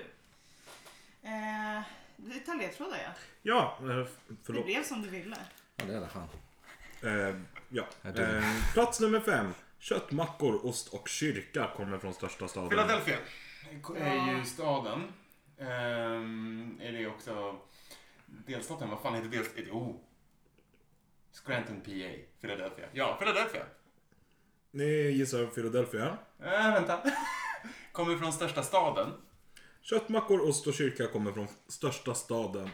Eh, vi tar ledtrådar ja.
Ja, eh,
Det
förlåt.
blev som du ville.
Ja, det är det fan.
Eh, ja.
Ja, det-
Eh, plats nummer fem. Köttmackor, ost och kyrka kommer från största staden.
Philadelphia är ju staden. Ehm, är det också delstaten? Vad fan heter delstaten? Oh. Scranton, PA. Philadelphia. Ja, Philadelphia.
Ni gissar Philadelphia.
Äh, vänta. Kommer från största staden.
Köttmackor, ost och kyrka kommer från största staden.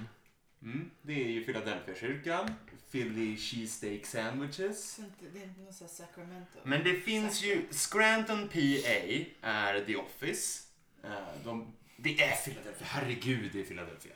Mm, det är ju Philadelphia-kyrkan. Philly cheesesteak sandwiches.
Så inte, det är inte något sånt här Sacramento.
Men det finns ju, Scranton PA är The Office. Eh, De, det är Philadelphia, herregud det är Philadelphia.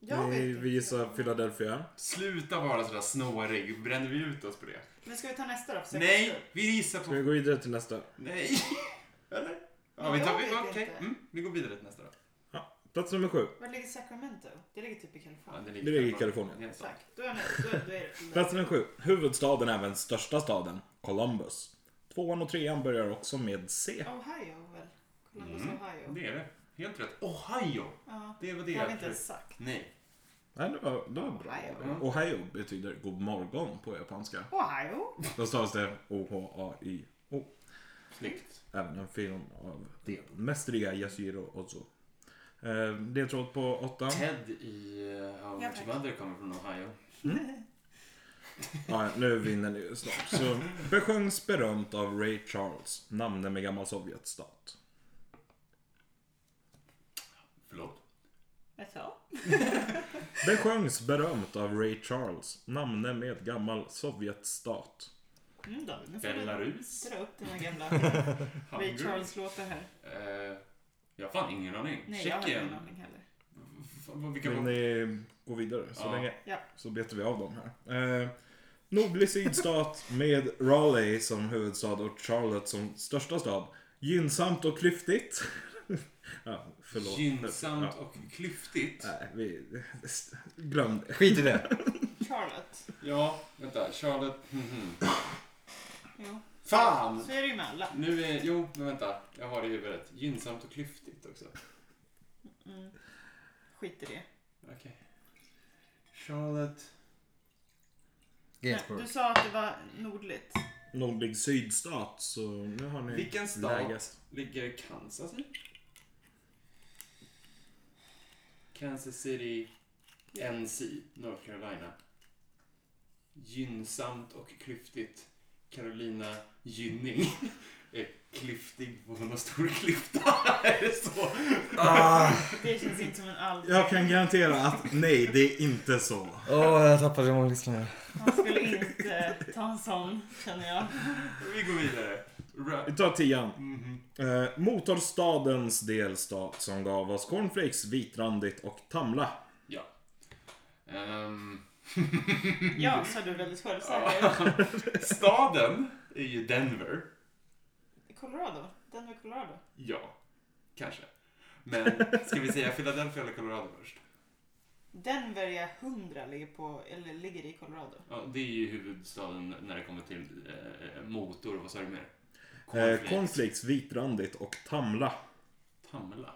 Jag vet
Ni,
inte.
vi gissar Philadelphia.
Sluta vara sådär snårig, bränner vi ut oss på det?
Men ska vi ta nästa då? för säkerhets
Nej,
skull?
vi gissar
Ska vi
på...
gå vidare till nästa?
Nej! Eller? Ja,
Men
vi
jag
tar...
vet
Okej,
inte.
mm, vi går vidare till nästa då.
Ja. Plats nummer sju.
Var ligger Sacramento? Det ligger typ i Kalifornien.
Det ligger i Kalifornien.
Ja, så.
Tack, då är jag nöjd. Då, då är det.
Plats nummer sju. Huvudstaden, även största staden, Columbus. Tvåan och trean börjar också med C.
Ohio väl? Columbus,
Mm,
Ohio.
Det är det. Helt rätt. Ohio!
Ja,
Det var det
det har vi
jag
inte
tror.
ens sagt.
Nej.
Nej, det var, det var bra.
Ohio.
Ohio betyder god morgon på japanska.
Ohio?
Då stavas det O-H-A-I-O.
Snyggt.
Även en film av den mästerliga Yasuhiro Ozu. Eh, Ledtråd på åttan.
Ted i eh, How
Ja,
Much
tack.
Mother kommer från Ohio.
Ja, nu vinner ni ju snart. Så besjöngs berömt av Ray Charles, namne med gammal sovjetstat.
Förlåt.
Jag sa.
Besjöngs berömt av Ray Charles, namne med gammal sovjetstat.
Mm, David, nu får du
Belarus?
dra upp dina gamla Ray
Hungary?
Charles-låtar här.
Eh, jag har fan ingen aning.
Nej, jag har ingen
Tjeckien?
aning heller.
Fan, vad- Vilka
Vill
var...
ni gå vidare så
Ja.
länge?
Ja.
Så betar vi av dem här. Eh, nordlig sydstat med Raleigh som huvudstad och Charlotte som största stad. Gynnsamt och klyftigt. ja, förlåt.
Gynnsamt
Ja.
och klyftigt?
Nej, vi... Glöm det.
Skit i det.
Charlotte.
Ja, vänta. Charlotte... mhm.
Jo,
Fan!
så är det ju med alla.
Nu är... Jo, men vänta. Jag har det i huvudet. Gynnsamt och klyftigt också.
Mm. Skit i det.
Okej. Charlotte...
Men
Gainsborough.
Du sa att det var nordligt.
Nordlig sydstat, så nu har ni
Vilken stad
lägest.
ligger Kansas i? Kansas City, NC, North Carolina. Gynnsamt och klyftigt. Carolina Gynning är klyftig och hon har stor klyfta. Är det så?
Ah.
Det känns inte som en all...
Jag kan garantera att nej, det är inte så.
Åh, jag tappade många lyssnare.
Han skulle inte ta en sån, känner jag.
Vi går vidare.
Vi
Ra-
tar tian.
Mhm.
Eh, motorstadens delstat som gav oss cornflakes, vitrandigt och Tamla. Eh,
Ja. Ehm,
Ja, sa du väldigt självsäker.
staden är ju Denver.
Colorado. Denver, Colorado.
Ja, kanske. Men ska vi säga Philadelphia eller Colorado först?
Denver är 100 ligger på, eller ligger i Colorado.
Ja, det är ju huvudstaden när det kommer till eh, motor. Vad sa du mer?
Eh, cornflakes, vitrandigt och Tamla.
Tamla.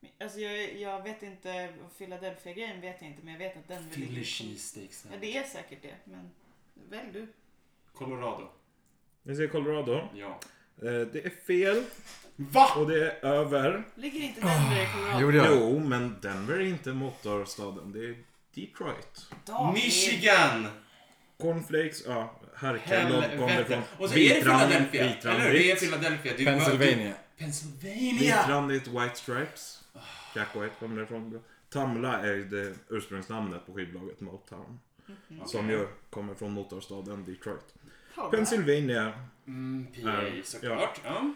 Men, Alltså jag, jag vet inte, Philadelphia-grejen vet jag inte, men jag vet att Denver ligger
Philly
i Colorado.
cheesesteaks.
Ja, det är säkert det, men välj du.
Colorado.
Ni ser Colorado.
Ja.
Eh, det är fel
Va?
och det är över.
Ligger inte Denver i Colorado?
Gjorde jag?
Ah, Jo, men Denver är inte motorstaden. Det är Detroit.
David.
Michigan!
Cornflakes, ja, herrkallon kommer
Helvete.
från
Och så är det
vitrand-
Philadelphia. Eller hur? Det är Philadelphia. Det är ju bara-
Pennsylvania.
Pennsylvania!
Vitrandigt White Stripes. Jack White kommer därifrån. Tamla är ju det ursprungsnamnet på skivbolaget Motown. Som ju kommer från motorstaden Detroit.
Colorado.
Pennsylvania.
Mm,
Ja.
PA såklart. Ja.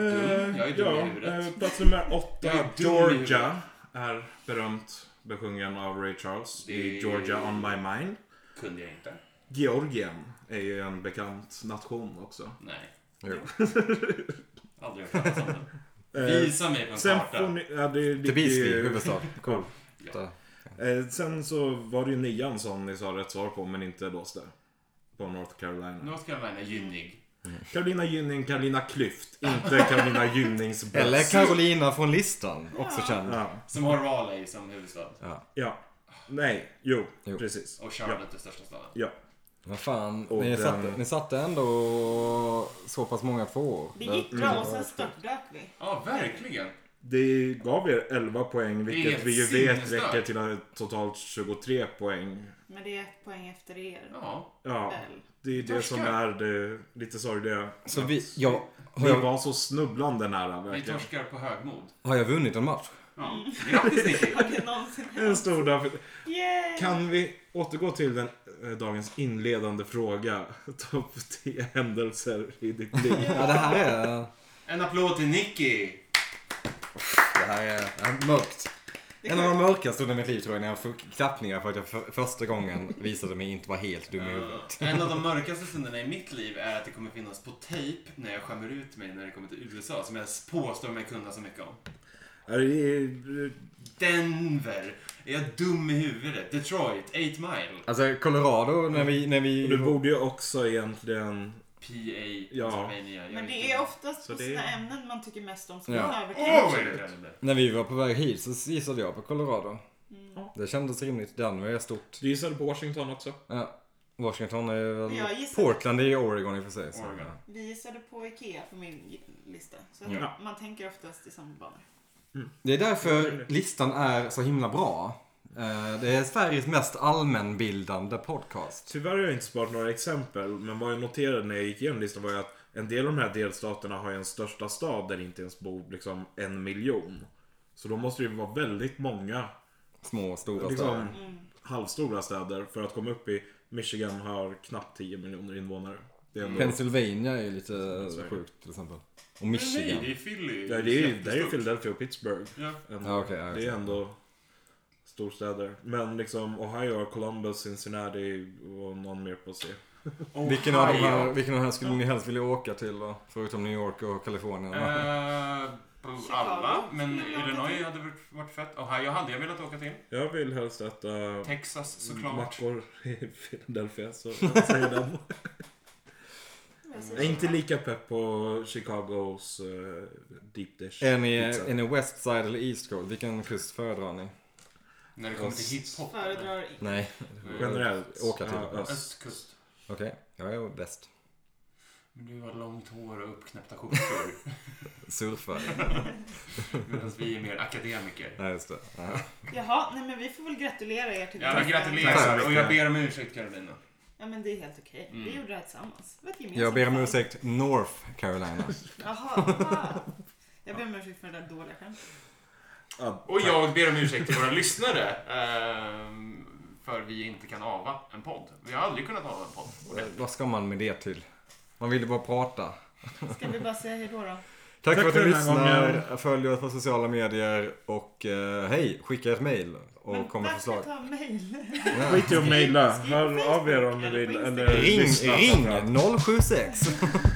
Eh,
Dum. Jag är dum i
ja,
huvudet.
eh, plats nummer
Jag är
åtta.
dum i
Georgia är berömt besjungen av Ray Charles i
Det-
Georgia on my mind.
Kunde jag inte.
Georgien är ju en bekant nation också.
Nej.
Jo.
Aldrig hört talas om den.
Eh,
Visa mig på en
Sen får
karta.
ni... Ja, det ligger
Tbilisi,
ju...
huvudstad. Cool.
Ja.
Där.
Eh, sen så var det ju nian som ni sa rätt svar på, men inte låste. På North Carolina.
North Carolina är gynnig.
Carolina Gynning, Carolina Klyft. Inte Carolina Gynnings bröst.
Eller Carolina från listan, också känd.
Ja.
Som har Raleigh som huvudstad.
Ja.
ja. Nej. Jo,
Jo.
precis.
Och Charlotte är största staden.
Ja.
Vad fan,
Och
ni,
den-
satte, ni satte ändå så pass många tvåor.
Det gick bra och sen störtdök vi.
Ja, verkligen.
Det gav er 11 poäng, vilket
är
vi ju vet
sinnesstört.
räcker till att totalt 23 poäng.
Men det är ett poäng efter er.
Ja.
Ja,
Väl.
det är det som
Torskar.
är det lite sorgliga.
Så
Att
vi, jag, har,
Ni
jag,
var så snubblande nära
Vi
verkligen.
torskar på högmod.
har jag vunnit en match?
Ja.
Mm.
Grattis Nicky!
Har det någonsin
En stor dag. för-
Yay!
Kan vi återgå till den, eh, dagens inledande fråga? Topp 10 händelser i ditt liv.
Ja, det här är...
En applåd till Nicky!
Det här är ja, mörkt. En av de mörkaste stunderna i mitt liv tror jag när jag fick klappningar för att jag för första gången visade mig inte vara helt dum i huvudet.
En av de mörkaste stunderna i mitt liv är att det kommer finnas på tejp när jag skämmer ut mig när det kommer till USA, som jag påstår mig kunna så mycket om.
Är det-
Denver! Är jag dum i huvudet? Detroit, 8 Mile,
Alltså Colorado när vi... När
Du
vi
borde ju också egentligen...
PA,
Ja.
Pennsylvania. Jag
Men
är
det
inte-
är oftast
Så
på
det-
sådana ämnen man tycker mest om som
Ja.
man övertänker.
Åh, vad irriterande.
när vi var på väg hit så gissade jag på Colorado.
Mm.
Det kändes rimligt. Denver är stort.
Du gissade på Washington också.
Ja. Washington är ju väl...
Jag gissade-
Portland är ju Oregon i och för sig. Så.
Oregon.
Vi gissade på IKEA på min lista. Så att
Ja.
man tänker oftast i samma banor.
Det är därför listan är så himla bra. Eh, Det är Sveriges mest allmänbildande podcast.
Tyvärr har jag inte sparat några exempel, men vad jag noterade när jag gick igenom listan var ju att en del av de här delstaterna har ju en största stad där det inte ens bor liksom en miljon. Så då måste det ju vara väldigt många
Små och stora
liksom,
städer.
halvstora städer för att komma upp i Michigan har knappt 10 miljoner invånare. Det är ändå...
Pennsylvania är ju lite sjukt till exempel. Och
Nej,
Michigan.
det är Philly.
Ja, det är ju, där är ju
Jättestort.
Philadelphia och Pittsburgh.
Ja.
Ändå.
Ja, okej, ja, jag
det är ändå storstäder. Men liksom Ohio, har Columbus, Cincinnati och någon mer på C.
Vilken av, de här,
Ohio.
vilken av de här skulle ni helst vilja åka till då? Förutom New York och Kalifornien.
Eh, på alla, men
Chicago.
Illinois hade varit- varit fett. Ohio hade jag velat åka till.
Jag vill helst äta
Texas såklart.
mackor i Philadelphia, så jag säger den. Jag är inte lika pepp på Chicagos eh, deep dish.
Är ni,
pizza.
är ni West Side eller East Coast? Vilken kust föredrar ni?
När det kommer till hiphop.
Föredrar i-
Nej.
Eh, Generellt.
Åka till.
Ja, öst.
Östkust.
Okej, jag är bäst.
Men Du har långt hår och uppknäppta skjortor.
Surfare.
Medan vi är mer akademiker.
Nej, just det. Ja.
Jaha, nej men vi får väl gratulera er till
Ja,
det.
men gratulerar och jag ber om ursäkt Karolina.
Ja men det är helt okej.
Mm.
Vi gjorde det här tillsammans. Det var ett gemensamt
Jag ber om
val.
ursäkt, North Carolina.
Jaha, aha. Jag ber om ursäkt för det där dåliga skämtet.
Ja,
Och jag ber om ursäkt till våra lyssnare. ehm, För vi inte kan ava en podd. Vi har aldrig kunnat ava en podd.
Eh, Vad ska man med det till? Man vill ju bara prata.
Ska vi bara säga hejdå då?
Tack, för att
för
ni
den här
lyssnar, följ oss på sociala medier och eh, hej, skicka ett mail och kom med
varför
förslag.
ta mejl?
Skit i att mejla.
Skriv på
Hör av er om ni
Facebook
vill.
eller på
Eller
Instagram.
Ring,
lyssna
ring
framförallt.
076.